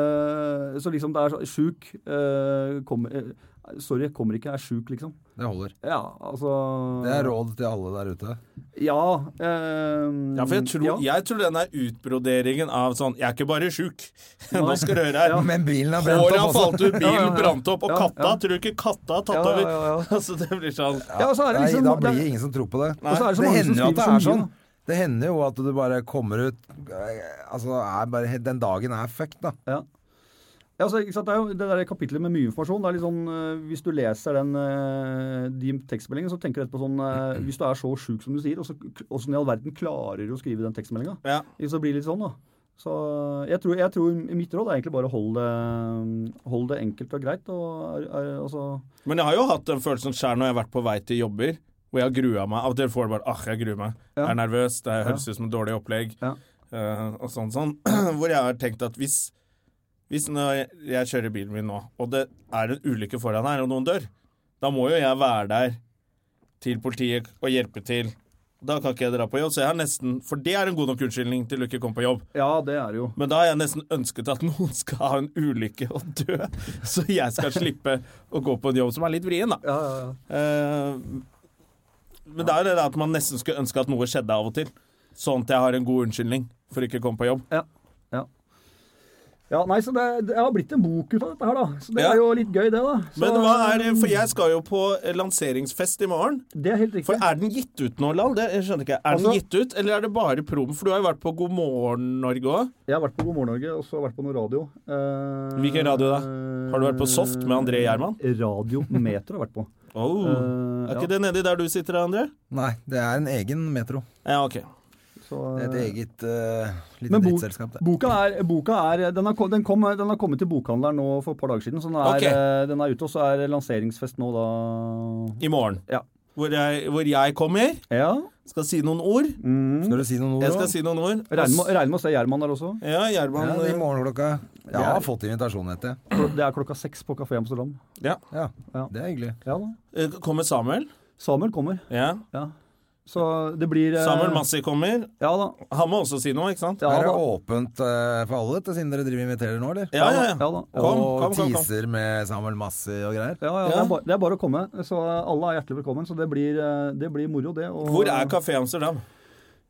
S3: Eh, så liksom det er sånn Sjuk. eh, kommer- eh, sorry, jeg kommer ikke. Jeg er sjuk, liksom.
S2: Det holder.
S3: Ja, altså
S2: Det er råd til alle der ute.
S3: Ja. eh,
S1: Ja, for jeg tror,
S3: ja.
S1: jeg tror den er utbroderingen av sånn Jeg er ikke bare sjuk. Nå skal du høre her.
S2: Men bilen har brent
S1: Håret
S2: opp
S1: han
S2: også.
S1: falt ut, bilen
S3: Ja, ja, ja.
S1: brant opp, og
S3: Ja,
S1: katta
S3: ja.
S1: Tror du ikke katta har tatt
S3: Ja, ja,
S1: over?
S3: ja, ja.
S1: Altså, det blir sånn
S3: ja, og så er det
S2: Nei,
S3: liksom
S2: da blir
S3: det er-
S2: det ingen som tror på det.
S3: Og så er det så
S2: det
S3: mange som
S2: hender jo at det er
S3: skriver så mye,
S2: sånn. Det hender jo at du bare kommer ut eh, Altså, er bare, den dagen er fucked, da.
S3: Ja. Ja, altså, ikke sant? Det er jo det der kapitlet med mye informasjon. det er litt sånn, eh, Hvis du leser den, eh, de tekstmeldingene, så tenker du etterpå sånn eh, Hvis du er så sjuk som du sier, og så- åssen i all verden klarer du å skrive den tekstmeldinga?
S1: Ja.
S3: Så blir det litt sånn, da. Så jeg tror, jeg tror mitt råd er egentlig bare hold det, hold det enkelt og greit. og er, er, altså...
S1: Men jeg har jo hatt den følelsen sjøl når jeg har vært på vei til jobber, hvor jeg har grua meg. Av og til får jeg bare ah, jeg gruer meg. Jeg er nervøs, det høres ut som et dårlig opplegg,
S3: Ja.
S1: eh, og sånn sånn. Hvor jeg har tenkt at hvis Hvis når jeg, jeg kjører bilen min nå, og det er en ulykke foran her, og noen dør, da må jo jeg være der til politiet og hjelpe til. Da kan ikke jeg dra på jobb, så jeg har nesten For det er en god nok unnskyldning til å ikke komme på jobb.
S3: Ja, det er det jo.
S1: Men da har jeg nesten ønsket at noen skal ha en ulykke og dø, så jeg skal slippe å gå på en jobb som er litt vrien, da.
S3: Ja, ja, ja.
S1: Eh, men det er jo det der at man nesten skulle ønske at noe skjedde av og til. Sånn at jeg har en god unnskyldning for ikke å komme på jobb.
S3: Ja. ja. Ja, nei, så det, det har blitt en bok ut av dette her, da. Så det
S1: Ja.
S3: er jo litt gøy, det, da. Så,
S1: Men hva er det, for jeg skal jo på lanseringsfest i morgen.
S3: Det er helt riktig.
S1: For er den gitt ut nå, Lal? Det jeg skjønner ikke. Er den
S3: Altså-
S1: gitt ut, eller er det bare prom? For du har jo vært på God morgen Norge òg.
S3: Jeg har vært på God morgen Norge, og så har jeg vært på noe radio. Eh,
S1: Hvilken radio da? Har du vært på Soft med André Gjerman?
S3: Radio Metro har jeg vært på.
S1: Oh.
S3: Eh,
S1: er
S3: ja.
S1: ikke det nedi der du sitter, André?
S2: Nei, det er en egen metro.
S1: Ja, OK.
S3: Så,
S2: Det er Et
S3: eh,
S2: eget eh, lite
S3: men bo,
S2: drittselskap, det.
S3: boka er, boka er den, har kom, den, kom, den har kommet til bokhandleren nå for et par dager siden, så den er,
S1: Ok.
S3: eh, den er ute. Og så er det lanseringsfest nå, da.
S1: I morgen.
S3: Ja.
S1: Hvor, jeg, hvor jeg kommer,
S3: Ja.
S1: skal si noen ord.
S3: Mm.
S2: Skal du si noen ord
S1: Jeg skal
S2: også?
S1: si eh, noen ord.
S3: Regner med, regner med å se Gjerman der også.
S1: Ja, Gjerman.
S2: Ja, I morgen klokka Jeg
S3: er-
S2: har fått invitasjon etter.
S3: Det er klokka seks på Kafé Amsterdam.
S2: Ja,
S3: Ja.
S2: det er hyggelig.
S3: Ja da.
S1: eh, Kommer Samuel?
S3: Samuel kommer.
S1: Ja.
S3: Ja. Så det blir eh,
S1: Samuel Massi kommer.
S3: Ja da.
S1: Han må også si noe, ikke sant?
S3: Ja,
S2: er det
S3: da.
S2: åpent eh, for alle, dette, siden dere driver og inviterer nå, eller?
S1: Ja, ja, ja.
S3: Ja da. Ja,
S1: Kom, kom,
S2: og
S1: kom, kom.
S2: teaser med Samuel Massi og greier.
S3: Ja, ja,
S1: Ja.
S3: Det, er bare, det er bare å komme. Så alle er hjertelig velkommen. Så det blir, eh, det blir moro, det. Og,
S1: Hvor er Kafé Amsterdam?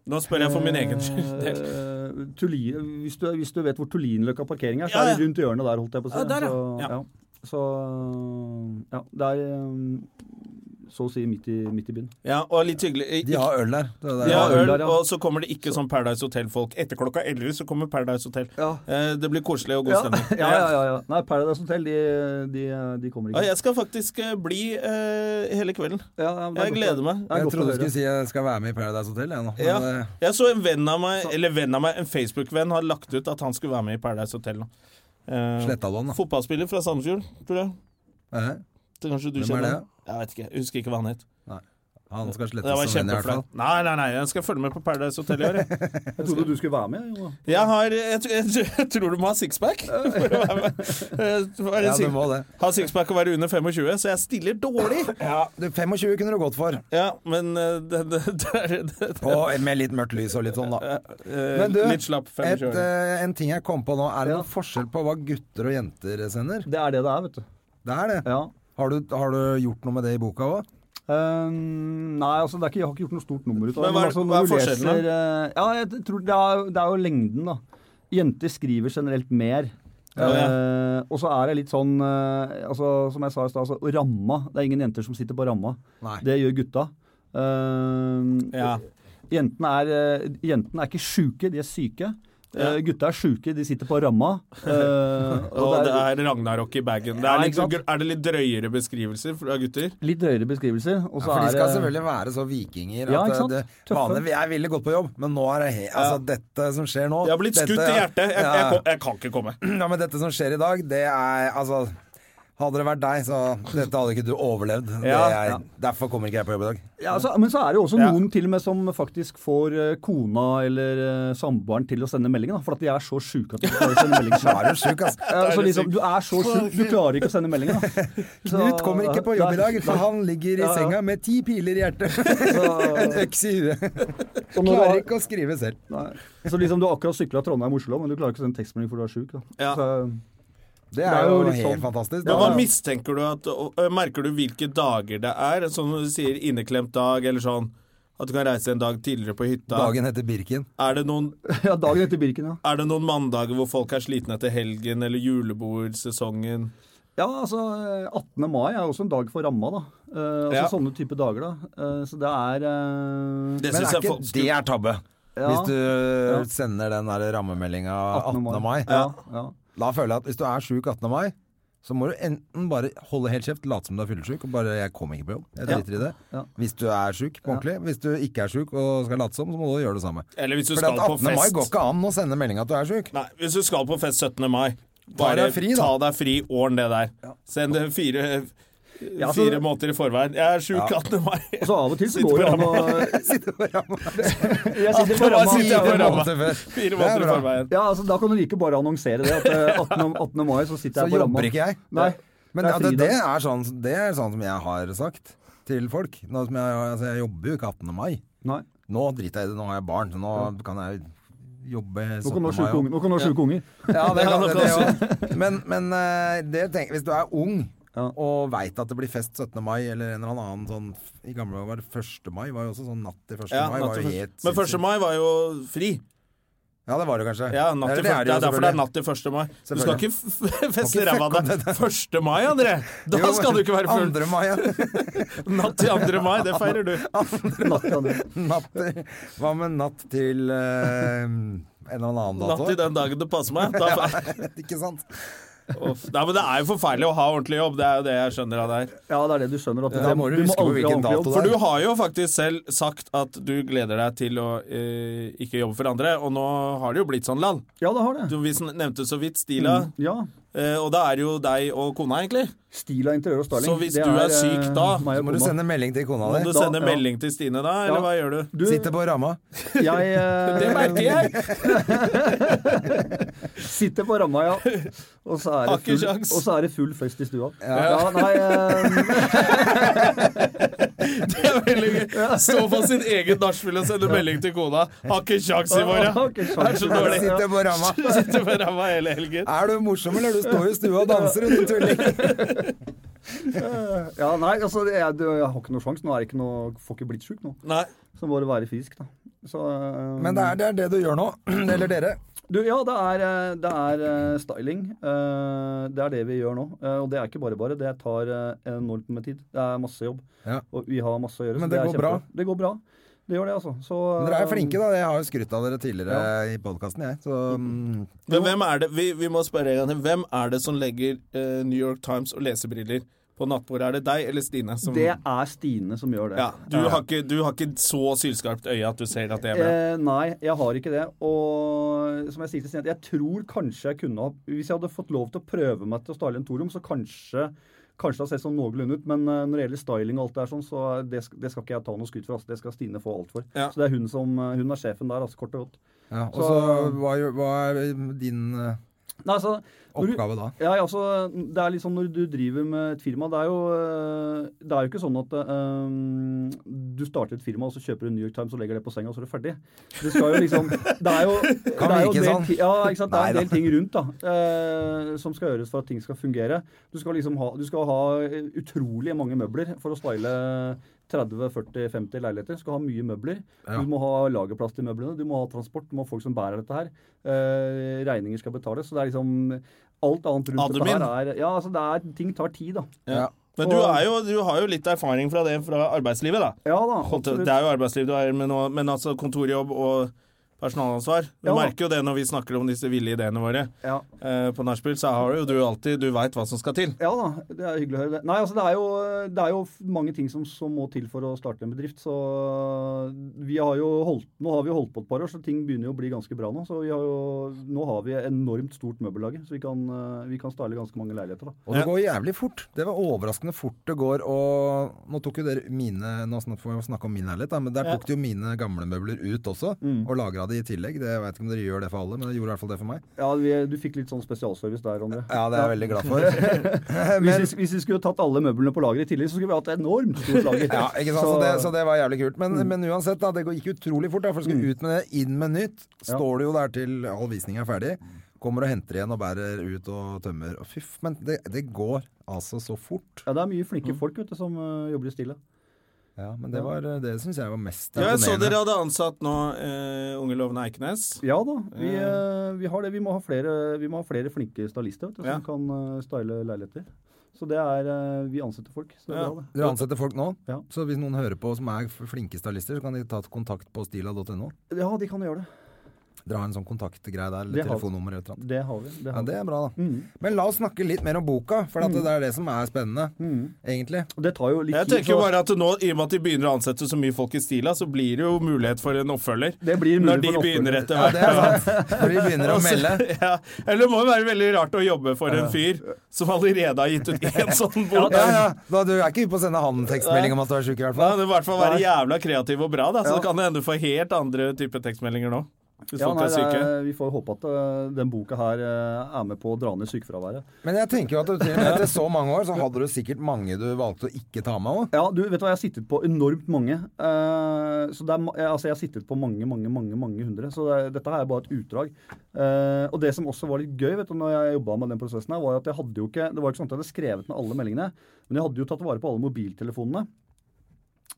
S1: Nå spør jeg for min egen skyld.
S3: Eh, Tulli- hvis, du, hvis du vet hvor Tullinløkka parkering er, så
S1: Ja, ja.
S3: er det rundt hjørnet der, holdt jeg på å si.
S1: Ja, der, ja.
S3: Så,
S1: Ja.
S3: ja. så ja, det er eh, så å si midt i, midt i byen.
S1: Ja, og litt hyggelig.
S2: De har øl der. så det er-
S1: De har øl,
S3: der, ja.
S1: og så kommer det ikke sånn Paradise Hotel-folk. Etter klokka 11 så kommer Paradise Hotel.
S3: Ja.
S1: Eh, Det blir koselig og god
S3: Ja,
S1: stemning.
S3: ja, ja, ja, ja. Nei, Paradise Hotel, de, de, de kommer
S1: Ja,
S3: ikke.
S1: jeg skal faktisk eh, bli eh, hele kvelden.
S3: Ja, ja, men det er
S1: Jeg
S3: godt å-
S1: gleder meg.
S3: det er
S2: Jeg
S3: godt å
S2: trodde du
S3: høre.
S2: skulle si jeg skal være med i Paradise Hotel, jeg nå. Men,
S1: Ja.
S2: eh,
S1: Jeg så en venn av meg, eller venn av meg, en Facebook-venn, har lagt ut at han skulle være med i Paradise Hotel nå. Eh,
S2: Sletta du han, da?
S1: Fotballspiller fra Sandefjord, tror jeg.
S2: eh,
S1: Det kanskje du
S2: Hvem er
S1: kjenner?
S2: det?
S1: Jeg vet ikke. Jeg husker ikke hva han het.
S2: han skal
S1: Det var
S2: slettes som venn, i hvert fall.
S1: kjempeflaut. Nei, nei, nei, jeg skal følge med på Paradise Hotel i år. jeg.
S3: Jeg trodde du skulle være med. Jo.
S1: Jeg har Jeg, tr- jeg, tr- jeg tror du må ha sixpack for å være med. Eh, for å
S2: Ja,
S1: være
S2: du
S1: six-
S2: må det.
S1: Ha sixpack og være under 25, så jeg stiller dårlig.
S2: Du, 25 kunne du gått for,
S1: Ja, men eh, det, det, det, er- det, det
S2: på, med litt mørkt lys og litt sånn, da.
S1: eh,
S2: Men du,
S1: Litt slapp
S2: Et,
S1: 25 år.
S2: eh, en ting jeg kom på nå, er det
S3: Ja.
S2: noen forskjell på hva gutter og jenter sender?
S3: Det er det det er, vet du.
S2: Det er det.
S3: Ja.
S2: Har du, har du gjort noe med det i boka òg?
S3: Eh, nei, altså, det er ikke, jeg har ikke gjort noe stort nummer ut av det.
S1: Men hva er-
S3: altså, når
S1: hva er
S3: du
S1: forskjellen, da?
S3: leser, eh, ja, jeg tror det er, det er jo lengden, da. Jenter skriver generelt mer.
S1: Ja,
S3: Eh, og så er det litt sånn eh, altså, Som jeg sa i stad, altså, ramma. Det er ingen jenter som sitter på ramma.
S2: Nei.
S3: Det gjør gutta. Eh,
S1: Ja.
S3: jentene, er, eh, jentene er ikke sjuke, de er syke. Eh, gutta er sjuke, de sitter på ramma. Eh,
S1: Og det er Ragnarok i bagen. Det
S3: Ja,
S1: er,
S3: ikke
S1: litt,
S3: sant?
S1: gr- er det litt drøyere beskrivelser fra gutter?
S3: litt drøyere beskrivelser. Og så
S2: For de
S3: er
S2: skal
S3: det-
S2: selvfølgelig være så vikinger
S3: Ja,
S2: at
S3: ikke sant?
S2: det,
S3: Tøffe.
S2: vanlig, Jeg ville gått på jobb, men nå er det he, altså, dette som skjer nå
S1: Jeg har blitt
S2: dette-
S1: skutt i hjertet. Jeg,
S2: ja.
S1: jeg, kom- jeg kan ikke komme.
S2: Ja, men dette som skjer i dag, det er altså Hadde det vært deg, så dette hadde ikke du overlevd.
S1: Ja.
S2: det er, derfor kommer ikke jeg på jobb i dag.
S3: Ja, altså, men så er det jo også
S1: Ja.
S3: noen til og med som faktisk får eh, kona eller eh, samboeren til å sende melding, da, for at de er så sjuke at de ikke klarer å sende melding
S2: Da
S3: selv.
S2: er du sjuk, altså.
S3: Ja, så liksom, du er så sjuk, du klarer ikke å sende melding. Da. Så- eh,
S2: Knut kommer ikke på jobb i dag, for
S3: Nei,
S2: han ligger i
S3: Ja, ja.
S2: senga med ti piler i hjertet. En
S3: Så,
S2: øks i huet.
S3: så, når du
S2: Klarer
S3: har,
S2: ikke å skrive selv.
S3: nei. så liksom du har akkurat sykla Trondheim-Oslo, men du klarer ikke å sende tekstmelding for du er sjuk. da.
S1: Ja.
S3: Så,
S2: Det
S3: Det
S2: er
S3: er jo
S2: jo
S3: litt
S2: helt
S3: sånn.
S2: fantastisk.
S1: Men hva
S2: Da-
S1: mistenker du at og, ø, Merker du hvilke dager det er? Sånn når du sier inneklemt dag, eller sånn at du kan reise en dag tidligere på hytta.
S2: Dagen heter Birken.
S1: Er, det noen,
S3: eh, ja, dagen etter Birken, ja.
S1: er det noen mandager hvor folk er slitne etter helgen eller julebordsesongen?
S3: Ja, altså eh, 18. mai er jo også en dag for ramma, da. Eh, altså
S1: Ja.
S3: sånne type dager, da. Eh, så det er eh,
S1: Det
S2: Men
S1: synes
S2: er
S1: jeg
S2: ikke
S1: folk
S2: det
S1: skulle-
S2: er tabbe?
S3: ja,
S2: Hvis du
S3: Ja.
S2: sender den der rammemeldinga 18.
S3: 18. mai.
S2: mai,
S3: Ja, ja.
S2: da føler jeg at hvis du er sjuk 18. mai, så må du enten bare holde helt kjeft, late som du er fyllesyk og bare 'jeg kom ikke på jobb', jeg driter i det.
S3: Ja.
S2: Hvis du er sjuk på ordentlig. Hvis du ikke er sjuk og skal late som, så må du gjøre det samme.
S1: Eller hvis du
S2: For
S1: skal
S2: at
S1: på
S2: 18. mai går
S1: fest.
S2: ikke an å sende melding at du er sjuk.
S1: Nei, hvis du skal på fest 17. mai, bare
S2: Ta deg fri, da.
S1: ta deg fri ordn det der. Send det fire,
S3: Ja,
S2: altså,
S3: altså, så-
S1: fire måneder i forveien. Jeg er sjuk 18. mai.
S3: Og så av og til så
S1: Sitter
S3: går
S1: på
S3: det an å
S2: Sitter på ramma.
S3: Jeg sitter på
S1: Hva
S3: ramma.
S1: sitter jeg på ramma?
S2: Det
S1: Fire
S2: er
S1: måneder i
S2: bra.
S1: forveien.
S3: Ja, altså Da kan du like bare annonsere det. At eh, 18. 18. mai så sitter
S2: Så
S3: jeg på ramma.
S2: jobber ikke jeg.
S3: Nei.
S2: Men
S3: Det er
S2: at det, det,
S3: fridag.
S2: er sånn, det er sånn som jeg har sagt til folk. Nå som jeg, altså jeg jobber jo ikke 18. mai.
S3: Nei.
S2: Nå driter jeg i det, nå har jeg barn. Så nå kan jeg jobbe 17.
S3: Nå kan du
S2: mai.
S3: ha sjuke
S2: også.
S3: unger. Nå kan du ha sjuke unger.
S2: Ja,
S1: Ja,
S2: det kan det,
S1: nå
S2: det
S1: kan
S2: også. Men, men eh, det tenker, hvis du er ung
S3: Ja.
S2: og veit at det blir fest 17. mai eller en eller annen sånn I gamle dager var det 1. mai, var jo også sånn natt til 1.
S1: Ja,
S2: mai.
S1: natt
S2: Var
S1: til
S2: jo
S1: første-
S2: helt
S1: Men 1. mai var jo fri.
S2: Ja, det var det kanskje.
S1: Ja, natt til
S2: Eller
S1: første, det er derfor det
S2: jo
S1: er
S2: selvfølgelig.
S1: natt til 1. mai. Du skal
S2: Selvfølgelig.
S1: ikke f- feste
S2: Må ikke
S1: ræva av
S2: fucke
S1: deg 1. mai, André! Da
S2: Jo,
S1: skal du ikke være full.
S2: 2. mai, ja.
S1: Natt til 2. mai, det feirer du.
S3: Natt kan det.
S2: Natt til, hva med natt til eh, en eller annen
S1: Natt
S2: dato?
S1: til den dagen det passer meg. Da feirer.
S2: Ikke sant?
S1: Uff. Nei, men det er jo forferdelig å ha ordentlig jobb, det er jo det jeg skjønner av deg.
S3: Ja, det er det du skjønner. At
S2: Da må du huske på
S3: aldri ha
S2: hvilken
S3: ordentlig
S2: dato
S3: jobb.
S2: det
S1: For
S2: er.
S1: du har jo faktisk selv sagt at du gleder deg til å eh, ikke jobbe for andre, og nå har det jo blitt sånn, Lan.
S3: Ja, det har det.
S1: Du vi sn- nevnte så vidt Stila,
S3: Ja.
S1: eh, og da er det jo deg og kona, egentlig.
S3: Stil av interiør og styling.
S1: Så hvis
S3: det
S1: du er
S3: eh,
S1: syk da,
S3: meg og
S2: Så må du
S3: kona.
S2: sende melding til kona
S1: Må
S2: di.
S1: du
S3: da-
S1: sende
S3: ja.
S1: melding til Stine da, eller
S3: Ja.
S1: hva gjør du?
S3: Du,
S2: Sitte på ramma.
S3: jeg eh,
S1: Det merker jeg!
S3: Sitter på ramma, ja. Og så er
S1: Har
S3: det
S1: ikke
S3: full,
S1: sjans.
S3: og så er det full fest i stua. Ja, nei, eh,
S1: Det er veldig gøy. Stå på sin egen nachspiel og sende melding til kona. Har ikke sjans i morgen.
S3: Har ikke sjans.
S1: Er så dårlig.
S3: Ja.
S2: Sitte på ramma.
S1: Sitter på ræva hele helgen.
S2: Er du morsom, eller? Du står i stua og danser, du tulling.
S3: ja, nei altså, jeg, du, jeg har ikke noe sjans. Nå er det ikke noe, får ikke blitt sjuk nå.
S1: Nei.
S3: Så må det være frisk, da. Så, eh,
S2: Men det er, det er det du gjør nå. Eller dere.
S3: Du, ja, det er, eh, det er eh, styling. Eh, Det er det vi gjør nå. Eh, Og det er ikke bare bare. Det tar eh, enormt med tid. Det er masse jobb.
S2: Ja.
S3: Og vi har masse å gjøre.
S2: Men
S3: så
S2: det
S3: er
S2: går bra?
S3: kjempe- Det går bra. Det gjør det, altså. Så,
S2: Men Dere er
S3: eh,
S2: flinke, da. Jeg har jo skrytt av dere tidligere i podkasten, jeg. Så mm,
S1: Men hvem er det Vi, vi må spørre en gang til. Hvem er det som legger eh, New York Times og lesebriller på nattbordet? Er det deg eller Stine? Som,
S3: eh, Det er Stine som gjør det.
S1: ja, du, Har ikke, du har ikke så sylskarpt øye at du ser at det er bra.
S3: Eh, nei, jeg har ikke det. Og som jeg sier til Stine, jeg tror kanskje jeg kunne ha Hvis jeg hadde fått lov til å prøve meg til å style en torom, så kanskje Kanskje det har sett sånn noenlunde ut, men eh, når det gjelder styling og alt det der sånn, så det, sk- det skal ikke jeg ta noe skudd for. Altså. Det skal Stine få alt for.
S1: Ja.
S3: Så det er hun som eh, Hun er sjefen der, altså, kort og godt.
S2: ja. Og
S3: Så-
S2: så hva, gjør- hva er din eh,
S3: Nei, altså, når du-
S2: oppgave da?
S3: Ja, ja, altså, det er litt sånn når du driver med et firma Det er jo, øh, det er jo ikke sånn at øh, du starter et firma, og så kjøper du New York Times og legger det på senga, og så er du ferdig. Det skal jo liksom Det er jo,
S2: Kan
S3: det er jo
S2: virke
S3: en del,
S2: sånn.
S3: ti- Ja, ikke sant. Det er en
S2: Neida.
S3: del ting rundt da, øh, som skal gjøres for at ting skal fungere. Du skal liksom ha, du skal ha utrolig mange møbler for å style 30-40-50 leiligheter. Du skal ha mye møbler.
S2: Ja.
S3: Du må ha lagerplass til møblene. Du må ha transport. Du må ha folk som bærer dette her. Eh, regninger skal betales. Så det er liksom Alt annet rundt
S1: Admin.
S3: dette her er Ja, altså det er Ting tar tid, da.
S2: Ja.
S1: Men du, er jo, du har jo litt erfaring fra det fra arbeidslivet, da.
S3: Ja da.
S1: Holdt- Det
S3: Absolutt.
S1: er jo arbeidsliv du er i, men, nå- men altså kontorjobb og personalansvar. Vi
S3: Ja.
S1: merker jo det når vi snakker om disse ville ideene våre
S3: Ja.
S1: eh, på nachspiel, så har jo du alltid Du veit hva som skal til.
S3: Ja da, det er hyggelig å høre det. Nei, altså det er jo, det er jo mange ting som, som må til for å starte en bedrift. Så vi har jo holdt, nå har vi jo holdt på et par år, så ting begynner jo å bli ganske bra nå. Så vi har jo, nå har vi enormt stort møbellager, så vi kan, eh, vi kan style ganske mange leiligheter. da.
S2: Og det går jævlig fort. Det var overraskende fort det går. Og nå tok jo dere mine Nå snak- får vi snakke om min herlighet, da, men der tok de jo mine gamle møbler ut også. Og lagra de i tillegg. Det, jeg veit ikke om dere gjør det for alle, men det gjorde i hvert fall det for meg.
S3: Ja, vi, Du fikk litt sånn spesialservice der, André.
S2: Ja, det er jeg veldig glad for.
S3: Hvis, vi, hvis vi skulle tatt alle møblene på lager i tillegg, så skulle vi hatt enormt stort lager.
S2: Ja, ikke sant? Så, det, så det var jævlig kult. Men, men uansett, da, det går- gikk utrolig fort. Da, for du skal ut med det, inn med nytt. Står du jo der til all visning er ferdig. Kommer og henter igjen og bærer ut og tømmer. Og fyff, men det, det går altså så fort.
S3: ja, det er mye flinke folk vet du, som eh, jobber i stille.
S2: Ja, men det, var, eh, det syns jeg var mest
S1: Ja, jeg så
S2: imponerende.
S1: dere hadde ansatt nå eh, unge lovende Eikenes.
S3: Ja da, vi, eh, vi har det. Vi må ha flere, vi må ha flere flinke stylister vet du,
S1: Ja.
S3: som kan eh, style leiligheter. Så det er eh, Vi ansetter folk. Så det er
S1: Ja.
S3: bra, det.
S2: Dere ansetter folk nå,
S3: Ja.
S2: så hvis noen hører på som er flinke stylister, så kan de ta kontakt på stila.no.
S3: Ja, de kan jo gjøre det.
S2: Dere har en sånn kontaktgreie der, eller
S3: Det har vi.
S2: telefonnummer eller et eller annet.
S3: Det har vi. Det
S2: Ja,
S3: har vi.
S2: det er bra, da. Men la oss snakke litt mer om boka, for at det er det som er spennende, egentlig.
S3: Og det tar jo litt
S1: Jeg
S3: tid,
S1: tenker jo
S3: så
S1: bare at nå, I og med at de begynner å ansette så mye folk i Stila, så blir det jo mulighet for en oppfølger.
S3: Det blir mulig
S1: Når de
S3: for en oppfølger.
S1: begynner etter
S2: Ja,
S1: hvert.
S2: det er sant. Når de begynner å
S1: Altså,
S2: melde.
S1: ja. Eller det må jo være veldig rart å jobbe for en fyr som allerede har gitt ut én sånn bok.
S2: Ja, ja. Da, du er ikke ute på å sende han en tekstmelding om at du er sjuk, i hvert
S1: Da
S2: fall.
S1: kan du i hvert fall være jævla kreativ og bra, da. så kan det hende du får helt andre typer tekstmeldinger nå. Hvis
S3: ja,
S1: folk
S3: nei,
S1: er
S3: det
S1: syke.
S3: er, vi får håpe at eh, den boka her eh, er med på å dra ned sykefraværet.
S2: Men jeg tenker jo at du, til og med etter så mange år, så hadde du sikkert mange du valgte å ikke ta med òg.
S3: Ja, du vet du hva, jeg har sittet på enormt mange. Eh, så det er, ma- jeg- altså, jeg har sittet på mange, mange, mange mange hundre. Så det, er- dette her er bare et utdrag. Eh, og det som også var litt gøy, vet du, når jeg jobba med den prosessen her, var jo at jeg hadde jo ikke Det var ikke sånn at jeg hadde skrevet ned alle meldingene, men jeg hadde jo tatt vare på alle mobiltelefonene.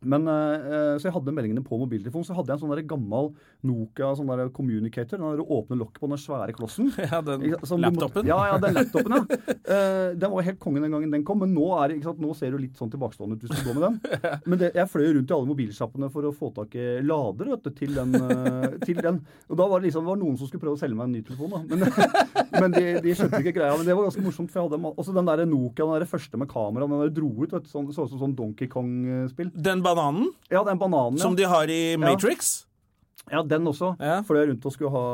S3: Men, eh, eh, så jeg hadde meldingene på mobiltelefonen. Så hadde jeg en sånn der gammel Nokia sånn der communicator. Den der åpne lokket på den svære klossen.
S1: Ja, den
S3: Ikke sant, som du
S1: laptopen.
S3: Måtte, ja, ja, den laptopen, ja. Eh, den var helt kongen den gangen den kom, men nå, er, det- ikke sant, nå ser du litt sånn tilbakestående ut hvis du går med den. Men det, jeg fløy jo rundt i alle mobilsjappene for å få tak i lader vet du, til, den, eh, til den. Og da var det liksom det var noen som skulle prøve å selge meg en ny telefon, da. Men, men de, de skjønte ikke greia. Men det var ganske morsomt, for jeg hadde ma- også den der Nokia, den der første med kamera, den der dro ut, vet du, sånn, så ut som sånn Donkey Kong-spill.
S1: Den bananen
S3: Ja, den bananen, ja.
S1: som de har i Matrix.
S3: Ja, den også.
S1: Ja.
S3: Fløy rundt og skulle ha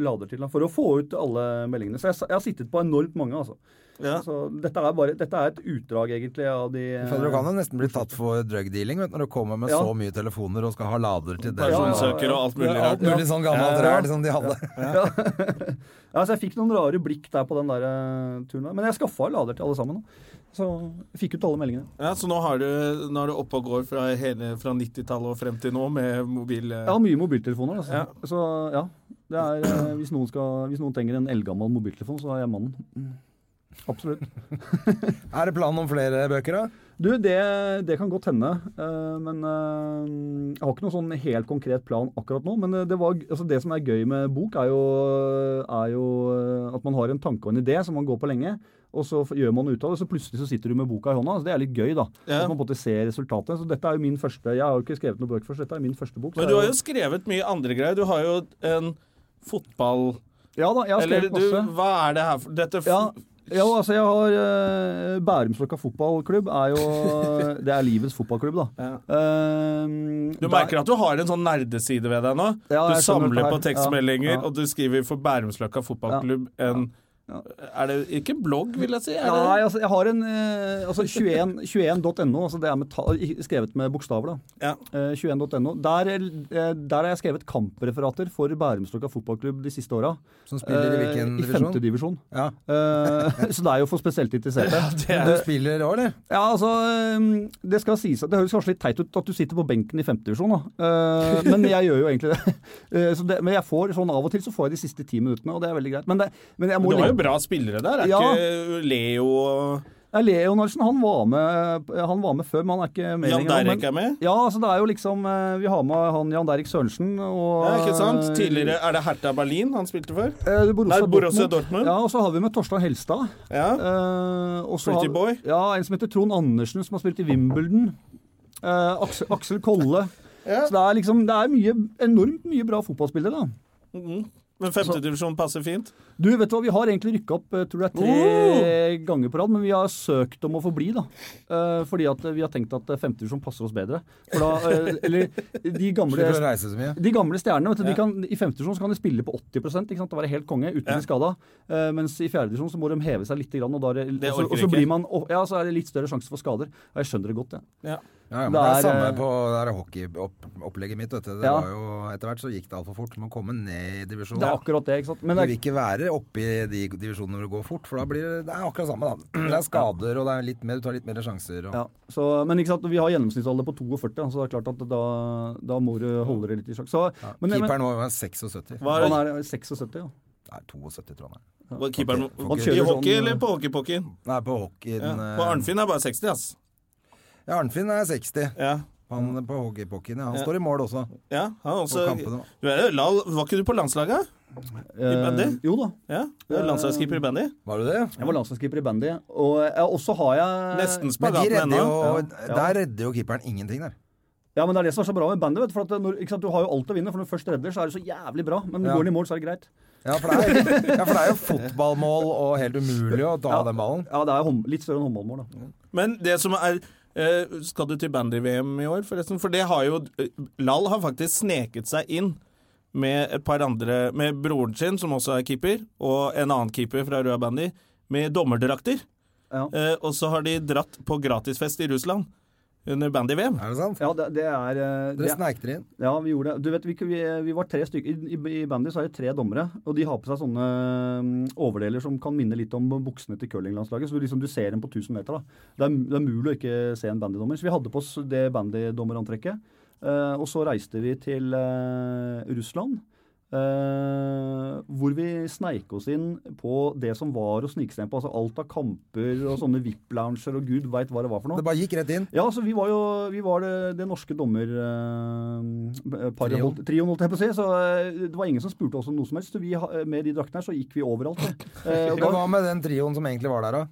S3: lader til. da, For å få ut alle meldingene. Så jeg, sa- jeg har sittet på enormt mange, altså.
S1: Ja.
S3: Så dette er, bare, dette er et utdrag, egentlig, av de
S2: Du kan jo nesten bli tatt for drug dealing vet, du, når du kommer med
S3: Ja.
S2: så mye telefoner og skal ha lader til det.
S1: Personsøker og alt mulig
S2: Ja, alt
S1: sånn rart.
S2: mulig sånn gammelt
S1: Ja.
S2: ræl som de hadde.
S3: Ja, så jeg fikk noen rare blikk der på den der eh, turen. der. Men jeg skaffa lader til alle sammen. da. Så jeg fikk ut alle meldingene.
S1: Ja, så nå, har du, nå er du oppe og går fra, hele- fra 90-tallet og frem til nå med mobil... eh,
S3: Jeg har mye mobiltelefoner. Altså. Så ja. Det er, eh, hvis, noen skal, hvis noen trenger en eldgammel mobiltelefon, så er jeg mannen.
S2: Mm.
S3: Absolutt.
S2: Er det planen om flere bøker, da?
S3: Du, det, det kan godt hende. eh, men eh, jeg har ikke noen sånn helt konkret plan akkurat nå. Men eh, det, var, altså, det som er gøy med bok, er jo, er jo eh, at man har en tanke og en idé som man går på lenge. Og så f- gjør man noe ut av det, og så plutselig så sitter du med boka i hånda. Så det er litt gøy, da.
S1: Ja.
S3: At man på en måte ser resultatet. Så dette er jo min første Jeg har jo ikke skrevet noen bøker først, dette er min første bok. så
S1: Men du
S3: jeg-
S1: har jo skrevet mye andre greier. Du har jo en fotball...
S3: Ja da, jeg har
S1: Eller
S3: skrevet
S1: du,
S3: masse.
S1: hva er det her for Dette f-
S3: Ja, ja, altså jeg har eh, Bærumsløkka fotballklubb er jo Det er livets fotballklubb, da.
S1: Ja.
S3: Eh,
S1: Du
S3: der-
S1: merker at du har en sånn nerdeside ved deg nå.
S3: Ja,
S1: du
S3: jeg skjønner
S1: samler
S3: det her.
S1: på tekstmeldinger,
S3: Ja, ja.
S1: og du skriver for Bærumsløkka fotballklubb en Er det ikke en blogg, vil jeg si? Er
S3: Nei,
S1: det?
S3: altså, jeg har en eh, altså 21 21.no, altså det er med ta, i- skrevet med bokstaver, da.
S1: Ja.
S3: Eh, 21.no. Der, eh, der har jeg skrevet kampreferater for Bærumsløkka fotballklubb de siste åra.
S2: Som spiller i hvilken
S3: Eh, I
S2: divisjon?
S3: femte divisjon.
S2: Ja.
S3: Eh, så det er jo for spesielt interesserte.
S2: Du spiller òg, eller?
S3: Ja, altså, øhm, det skal sies at det høres kanskje litt teit ut at du sitter på benken i femtedivisjon, da. Eh, Men jeg gjør jo egentlig det. Eh, Så det. Men jeg får sånn av og til så får jeg de siste ti minuttene, og det er veldig greit. Men, det, men jeg må
S1: Du har jo
S3: legge-
S1: bra spillere der. Er
S3: Ja.
S1: ikke Leo og
S3: Ja, Leonardsen, han var med eh, Han var med før, men han er ikke med
S1: Jan
S3: lenger nå, men-
S1: Derek er med?
S3: Ja, altså det er jo liksom eh, Vi har med han Jan Derek Sørensen og
S1: Ja, ikke sant? Tidligere Er det Hertha Berlin han spilte for?
S3: eh, Borussia,
S1: Nei, Borussia Dortmund.
S3: Ja, og så har vi med Torstein Helstad.
S1: Ja.
S3: Eh, og så
S1: Pretty
S3: har-
S1: boy.
S3: Ja, en som heter Trond Andersen, som har spilt i Wimbledon. Eh, Aksel, Aksel Kolle. Så det er liksom, det er mye, enormt mye bra fotballspillere, da.
S1: Men femtedivisjon passer fint.
S3: Du, vet du hva, vi har egentlig rykka opp eh, tror jeg, tre ganger på rad, men vi har søkt om å få bli, da. Eh, fordi at eh, vi har tenkt at eh, femte divisjon passer oss bedre. For da, eh, eller de gamle,
S2: Slipper å reise så mye.
S3: de gamle stjernene, vet du, de kan, i femte divisjon så kan de spille på 80 ikke sant? og være helt konge uten å bli skada. Eh, mens i fjerde divisjon så må de heve seg litt, grann, og, da er det,
S1: Det
S3: og, så,
S1: orker
S3: og så
S1: ikke.
S3: blir man, og, ja, så er det litt større sjanse for skader. Ja, jeg skjønner det godt, jeg.
S1: Ja.
S2: Ja, ja, men
S3: Det
S2: det er,
S3: er,
S2: samme
S3: eh,
S2: på det er hockeyopplegget mitt. Vet du. Det
S3: Ja.
S2: var jo, etter hvert så gikk det altfor fort. Du må komme ned i divisjonen.
S3: Det er akkurat det, ikke sant. Men
S2: Du
S3: det,
S2: vil
S3: er-
S2: ikke være oppe i de divisjonene hvor det går fort, for da blir det, det er akkurat samme. da. Det er skader, og det er litt mer, du tar litt mer sjanser. Og,
S3: ja, så, men ikke sant, vi har gjennomsnittsalder på 42, da, så det er klart at da, da må du holde det litt i sjakk. Så, men- men-
S2: Keeperen var jo 76.
S1: Hva
S3: Han
S1: er,
S3: er 76, ja.
S2: Nei, 72, tror jeg han er.
S1: hva er keeperen I
S3: Han kjører
S1: hockey
S3: sånn,
S1: eller på hockeypokken?
S2: Nei, på
S1: Ja.
S2: hockeyen eh,
S1: På Arnfinn er bare 60, ass.
S2: Ja, Arnfinn er 60.
S1: Ja.
S2: Han på hockeypokken. Ja. Han står i mål også.
S1: ja han er også,
S2: På kampene.
S1: du er, jo la, var ikke du på landslaget? I bandy?
S3: Eh, jo da.
S1: Ja, du
S3: Eh,
S1: er landslagskeeper i bandy.
S2: Var du det?
S3: Jeg var landslagskeeper i bandy, og jeg, også har jeg
S1: Nesten
S2: Men de
S1: spagaten
S2: redder
S1: ennå.
S2: jo,
S3: Ja.
S2: Der redder jo keeperen ingenting, der.
S3: Ja, men det er det som er så bra med bandy. vet du, for at når, ikke sant, Du har jo alt å vinne, for når du først redder, så er det så jævlig bra. Men
S2: Ja.
S3: går den i mål, så er det greit.
S2: Ja, for det er, ja, for det er jo fotballmål og helt umulig å ta
S3: Ja.
S2: den ballen.
S3: Ja, det er jo hånd- litt større enn håndballmål, da.
S1: Men det som er eh, Skal du til bandy-VM i år, forresten? For det har jo eh, Lal har faktisk sneket seg inn med et par andre Med broren sin, som også er keeper, og en annen keeper fra Røa Bandy, med dommerdrakter.
S3: Ja.
S1: Eh, og så har de dratt på gratisfest i Russland under bandy-VM.
S2: Er det sant?
S3: Ja, det, det er eh,
S2: Dere
S3: det,
S2: sneik dere inn.
S3: Ja, vi gjorde det. Du vet, vi, ku- vi, vi var tre stykker. I, i, I bandy så er det tre dommere, og de har på seg sånne mm, overdeler som kan minne litt om buksene til curlinglandslaget. Så du, liksom, du ser dem på 1000 meter. da. Det er, det er mulig å ikke se en bandydommer. Så vi hadde på oss det bandydommerantrekket. Eh, og så reiste vi til eh, Russland. eh, hvor vi sneik oss inn på det som var å snike seg inn på. altså Alt av kamper og sånne VIP-lounger og gud veit hva det var for noe.
S2: Det bare gikk rett inn.
S3: Ja, altså vi var jo vi var det, det norske dommer... Eh, par-
S2: Trio.
S3: holdt- Trioen, holdt jeg på å si. Så eh, det var ingen som spurte oss om noe som helst. Så vi, ha- eh, med de draktene her så gikk vi overalt. da. Eh, og
S2: Og
S3: da
S2: hva med den trioen som egentlig var der, da?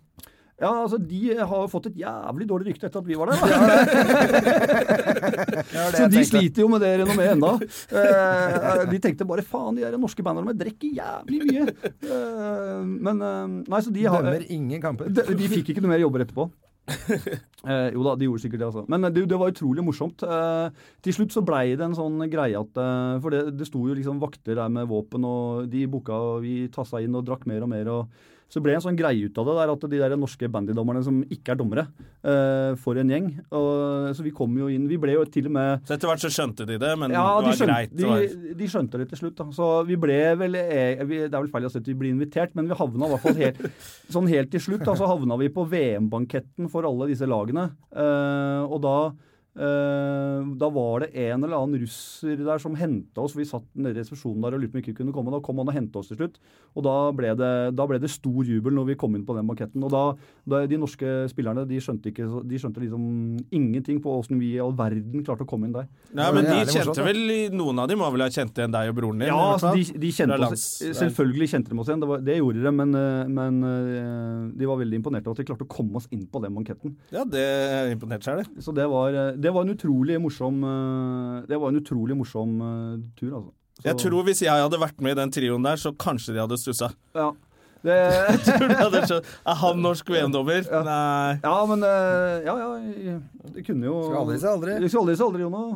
S3: ja, altså De har jo fått et jævlig dårlig rykte etter at vi var der. Da.
S2: Det var det
S3: Så
S2: jeg
S3: de
S2: tenkte.
S3: sliter jo med det renommeet ennå. Eh, de tenkte bare faen, de der norske bandene drikker jævlig mye. Eh, men eh, Nei, så de har
S2: Dømmer ingen kamper.
S3: De, de fikk ikke noe mer jobber etterpå. Eh, jo da, de gjorde sikkert det, altså. Men eh, det, det var utrolig morsomt. Eh, til slutt så blei det en sånn greie at eh, For det, det sto jo liksom vakter der med våpen, og de booka, og vi tassa inn og drakk mer og mer. og så ble det en sånn greie ut av det der at de der norske bandydommerne som ikke er dommere, eh, for en gjeng. Og, så vi kom jo inn. Vi ble jo til og med
S1: Så etter hvert så skjønte de det, men
S3: ja,
S1: det
S3: de
S1: var
S3: skjønte,
S1: greit. det var-
S3: de, de skjønte det til slutt. Da. Så vi ble vel eh, vi, Det er vel feil å si at vi ble invitert, men vi havna i hvert fall helt, sånn helt til slutt. Da, så havna vi på VM-banketten for alle disse lagene. Eh, og da eh, da var det en eller annen russer der som henta oss. Vi satt nede i resepsjonen der og lurte på om vi ikke kunne komme. Da kom han og henta oss til slutt. Og da ble, det, da ble det stor jubel når vi kom inn på den banketten. Og da, da de norske spillerne de skjønte, ikke, så- de skjønte liksom ingenting på åssen vi i all verden klarte å komme inn der.
S1: Nei,
S2: Ja,
S1: men
S2: det
S1: de
S2: er jævlig
S1: kjente
S2: morsomt,
S1: vel Noen av dem må vel ha kjent igjen deg og broren din?
S3: Ja,
S1: i hvert
S3: altså,
S1: fall.
S3: de, de kjente
S1: Fra
S3: oss,
S1: lands-
S3: selvfølgelig kjente de oss igjen. Det, var, det gjorde de, men, eh, men eh, de var veldig imponert over at de klarte å komme oss inn på den banketten.
S1: Ja, det er imponert seg, det.
S3: Så det var, eh, det var en utrolig morsom eh, Det var en utrolig morsom eh, tur, altså. Så,
S1: Jeg tror hvis jeg hadde vært med i den trioen der, så kanskje de hadde stussa.
S3: ja. Det,
S1: Tror du hadde skjønt? Er han norsk VM-dommer? Nei.
S3: ja, men eh, Ja, ja. Det kunne jo
S2: Skal aldri si aldri.
S3: Det Skal aldri si aldri, Jonah.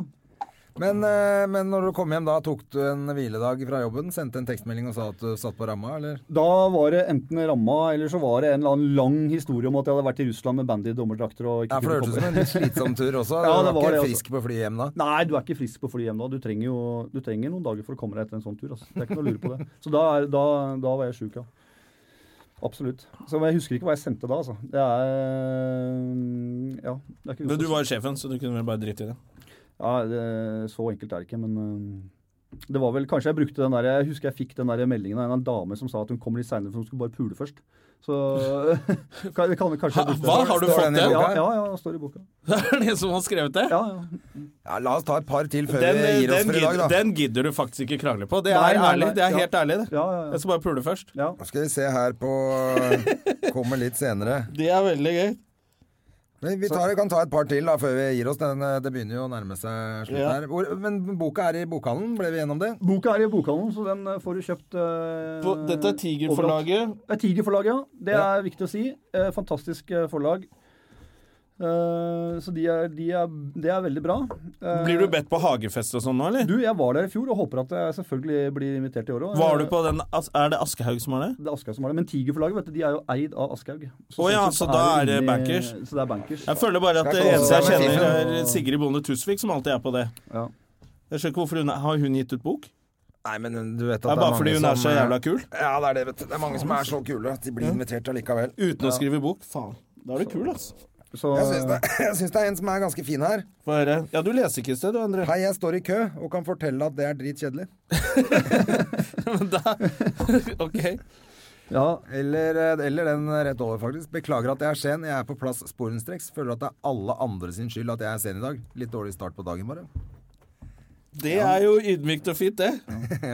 S2: Men, eh, men når du kom hjem da, tok du en hviledag fra jobben? Sendte en tekstmelding og sa at du satt på ramma, eller?
S3: Da var det enten ramma, eller så var det en eller annen lang historie om at jeg hadde vært i Russland med bandy, dommerdrakter og
S2: Ja,
S3: ikke
S2: for det hørtes ut som en litt slitsom tur også.
S3: Ja,
S2: du var
S3: det var det,
S2: ikke
S3: altså.
S2: frisk på flyet hjem da.
S3: Nei, du er ikke frisk på fly hjem da. Du trenger jo du trenger noen dager for å komme deg etter en sånn tur. Altså. Det er ikke noe å lure på det. Så da, er, da, da var jeg sjuk, ja. Absolutt. Så jeg husker ikke hva jeg sendte da, altså. Det er Ja. Det er ikke
S1: Men du var jo sjefen, så du kunne vel bare drite i det.
S3: ja, det, Så enkelt er det ikke, men øhm, det var vel Kanskje jeg brukte den der Jeg husker jeg fikk den der meldingen av en eller annen dame som sa at hun kom litt seinere, for hun skulle bare pule først. Så kan, det kan, kanskje jeg brukte
S1: Hva, har du
S2: Står
S1: fått
S2: den i
S1: det?
S3: Ja,
S2: boka?
S3: ja, ja, det står i boka.
S1: Det er det som har skrevet det?
S3: Ja, ja.
S2: Ja, la oss ta et par til før
S1: Den,
S2: vi gir oss
S1: den,
S2: for i dag,
S1: gidder,
S2: da.
S1: den gidder du faktisk ikke krangle på. Det er
S3: Nei, nei, nei.
S1: ærlig. Det er
S3: Ja.
S1: helt ærlig, det.
S3: ja, ja, ja.
S1: Jeg skal bare pule først.
S3: ja.
S2: Nå skal vi se her på Kommer eh, litt senere.
S1: Det er veldig gøy.
S2: Men vi tar, kan ta et par til da, før vi gir oss. Den, eh, det begynner jo å nærme seg slutt
S3: Ja.
S2: her. Hvor, men boka er i bokhandelen, ble vi gjennom det?
S3: Boka er i bokhandelen, så den eh, får du kjøpt eh,
S1: På, dette er Tigerforlaget.
S3: Det er Tigerforlaget, ja. Det
S2: Ja.
S3: er viktig å si. Eh, fantastisk eh, forlag. Eh, så de er, de er, det er veldig bra. Eh,
S1: Blir du bedt på hagefest og sånn nå, eller?
S3: Du, jeg var der i fjor og håper at jeg selvfølgelig blir invitert i år òg.
S1: Var du på den As- Er det Aschehoug som har det?
S3: Det er Aschehoug som har det. Men Tigerforlaget vet du, de er jo eid av Aschehoug. Så
S1: Å ja,
S3: sånn sett
S1: så da er det
S3: inni-
S1: bankers.
S3: Så det er bankers.
S1: Jeg føler bare at
S2: Det er
S1: det
S2: ikke
S1: eneste jeg
S2: også-
S1: kjenner, er Sigrid Bonde Tusvik, som alltid er på det.
S3: Ja.
S1: Jeg skjønner ikke hvorfor hun er, Har hun gitt ut bok?
S2: Nei, men du vet at
S1: Det er bare fordi hun er så
S2: eh,
S1: jævla kul?
S2: Ja, det er det, vet du. Det er mange som er så kule at de blir invitert allikevel.
S1: Uten å skrive bok? Faen. Da er du kul, altså.
S3: Så,
S2: Jeg syns det, jeg synes det er en som er ganske fin her.
S1: Få høre. Ja, du leser ikke i sted, du, André.
S2: Hei, jeg står i kø og kan fortelle at det er dritkjedelig.
S1: Men da OK.
S3: ja,
S2: Eller, eh, eller den rett over, faktisk. Beklager at jeg er sen. Jeg er på plass sporenstreks. Føler at det er alle andre sin skyld at jeg er sen i dag. Litt dårlig start på dagen, bare.
S1: Det er jo ydmykt og fint, det.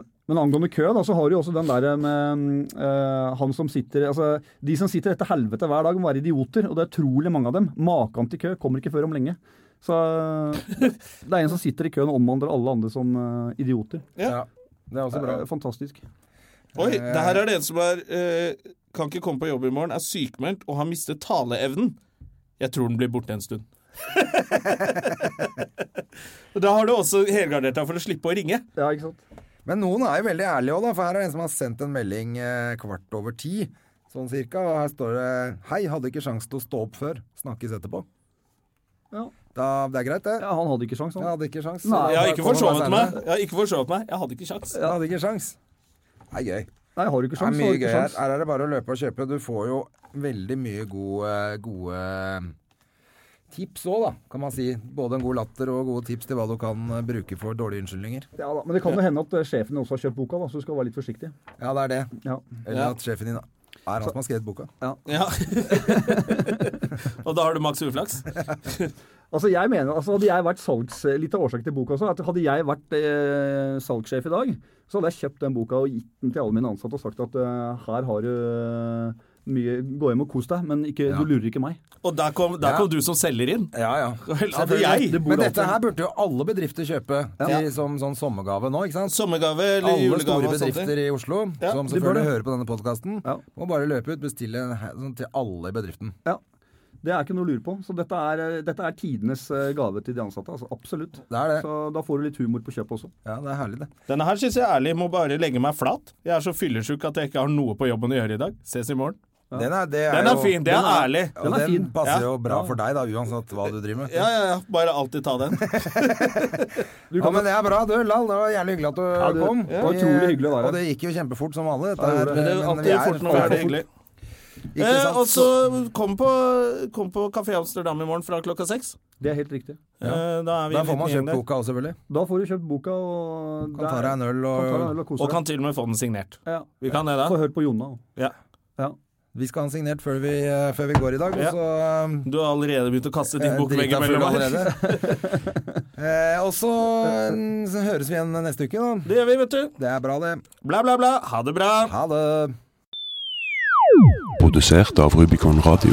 S3: Men angående kø, da, så har du jo også den der med mm, eh, han som sitter Altså, de som sitter etter helvete hver dag, må være idioter, og det er utrolig mange av dem. Maken til kø kommer ikke før om lenge. Så eh, det er en som sitter i køen og omhandler alle andre som eh, idioter.
S1: Ja.
S2: Det er også bra.
S3: Eh, Fantastisk.
S1: Oi, det her er det en som er eh, Kan ikke komme på jobb i morgen, er sykmeldt og har mistet taleevnen. Jeg tror den blir borte en stund. da har du også helgardert deg for å slippe å ringe.
S3: Ja, ikke sant?
S2: Men noen er jo veldig ærlige òg, da. For her er det en som har sendt en melding eh, kvart over ti, sånn cirka. Og her står det 'Hei, hadde ikke sjans til å stå opp før. Snakkes etterpå'.
S3: Ja.
S2: Da, det er greit, det.
S3: Ja, han hadde ikke sjans,
S2: Jeg
S3: han.
S2: hadde ikke sjans.
S3: Nei.
S1: Jeg har
S2: Bare
S1: ikke
S2: kom og
S1: forsovet
S2: bare
S1: meg.
S2: senere.
S1: Jeg har ikke forsovet meg. Jeg hadde ikke kjangs.
S2: Jeg hadde ikke sjans. Det er gøy.
S3: Nei, har du ikke
S2: Det er
S3: sjans, så har
S2: mye
S3: du
S2: gøy
S3: ikke
S2: her.
S3: sjans.
S2: Her er det bare å løpe og kjøpe. Du får jo veldig mye gode, gode um, tips òg, da, kan man si. Både en god latter og gode tips til hva du kan eh, bruke for dårlige unnskyldninger.
S3: Ja, da. Men det kan jo hende at eh, sjefen også har kjøpt boka, da, så du skal være litt forsiktig.
S2: Ja, det er det.
S3: Ja.
S2: Eller
S1: Ja.
S2: at sjefen din er han som har skrevet boka.
S1: Ja. og da har du maks uflaks.
S3: Altså, jeg mener, altså, Hadde jeg vært salgs... Litt av årsaken til boka også, at hadde jeg vært eh, salgssjef i dag, så hadde jeg kjøpt den boka og gitt den til alle mine ansatte og sagt at eh, her har du eh, mye Gå hjem og kos deg, men ikke,
S2: Ja.
S3: du lurer ikke meg.
S1: Og der kom, der
S2: Ja.
S1: kom du som selger inn.
S2: Ja, ja.
S1: Vel, hadde jeg
S3: Det bor
S2: Men
S3: alltid-
S2: dette her burde jo alle bedrifter kjøpe til, som sånn sommergave nå, ikke sant?
S1: sommergave eller
S2: Alle store
S1: julegave og sånt.
S2: bedrifter i Oslo
S1: Ja,
S2: som
S3: de burde
S2: selvfølgelig
S3: det.
S2: hører på denne podkasten,
S3: Ja.
S2: må bare løpe ut, bestille en he- sånn til alle i bedriften.
S3: Ja. Det er ikke noe å lure på. Så dette er, eh, dette er tidenes eh, gave til de ansatte. altså Absolutt.
S2: Det er det.
S3: Så da får du litt humor på kjøpet også.
S2: Ja, det er herlig, det.
S1: Denne her synes jeg ærlig må bare legge meg flat. Jeg er så fyllesjuk at jeg ikke har noe på jobben å gjøre i dag. Ses i morgen.
S2: Den er, det
S1: Den er
S2: jo-
S1: fin. Det er ærlig.
S2: Ja,
S3: Den er fin.
S2: passer
S1: Ja.
S2: jo bra for deg, da, uansett hva du driver med.
S1: Ja, ja, ja. Bare alltid ta den.
S3: Du
S2: Ja,
S3: kan,
S2: men det er bra, du, Lall. Det var jævlig hyggelig at du
S3: du-
S2: kom.
S3: det var utrolig hyggelig å være her.
S2: Og det gikk jo kjempefort som vanlig. Dette
S3: Ja, det
S2: her,
S3: gjorde det.
S1: Men det er
S2: men vi
S1: alltid fort når vi er det hyggelig.
S2: Ikke
S1: Eh,
S2: sant?
S1: og så kom på, kom på Café Amsterdam i morgen fra klokka seks.
S3: det er helt riktig.
S1: Eh, da er vi
S2: Da
S1: en
S2: får man
S1: liten gjeng
S2: kjøpt
S1: der.
S2: boka også, selvfølgelig.
S3: Da får du kjøpt boka og
S2: Kan ta deg en øl
S3: Kan ta deg en
S2: og
S3: øl og
S1: Og
S3: kose deg.
S1: kan til og med få den signert.
S3: Ja.
S1: Vi kan det,
S3: Få
S1: da.
S3: høre på Jonna.
S1: Ja.
S3: Ja.
S2: Vi skal ha den signert før vi, eh, før vi går i dag.
S1: Ja.
S2: Og så um,
S1: Du har allerede begynt å kaste din
S2: Jeg er
S1: bok
S2: drita full
S1: veggimellom her.
S2: allerede. eh, og så, mm, så høres vi igjen neste uke, da.
S1: Det gjør vi, vet du.
S2: Det er bra, det.
S1: Bla, bla, bla. Ha det bra.
S2: Ha det.
S4: Produsert av Rubicon Radio.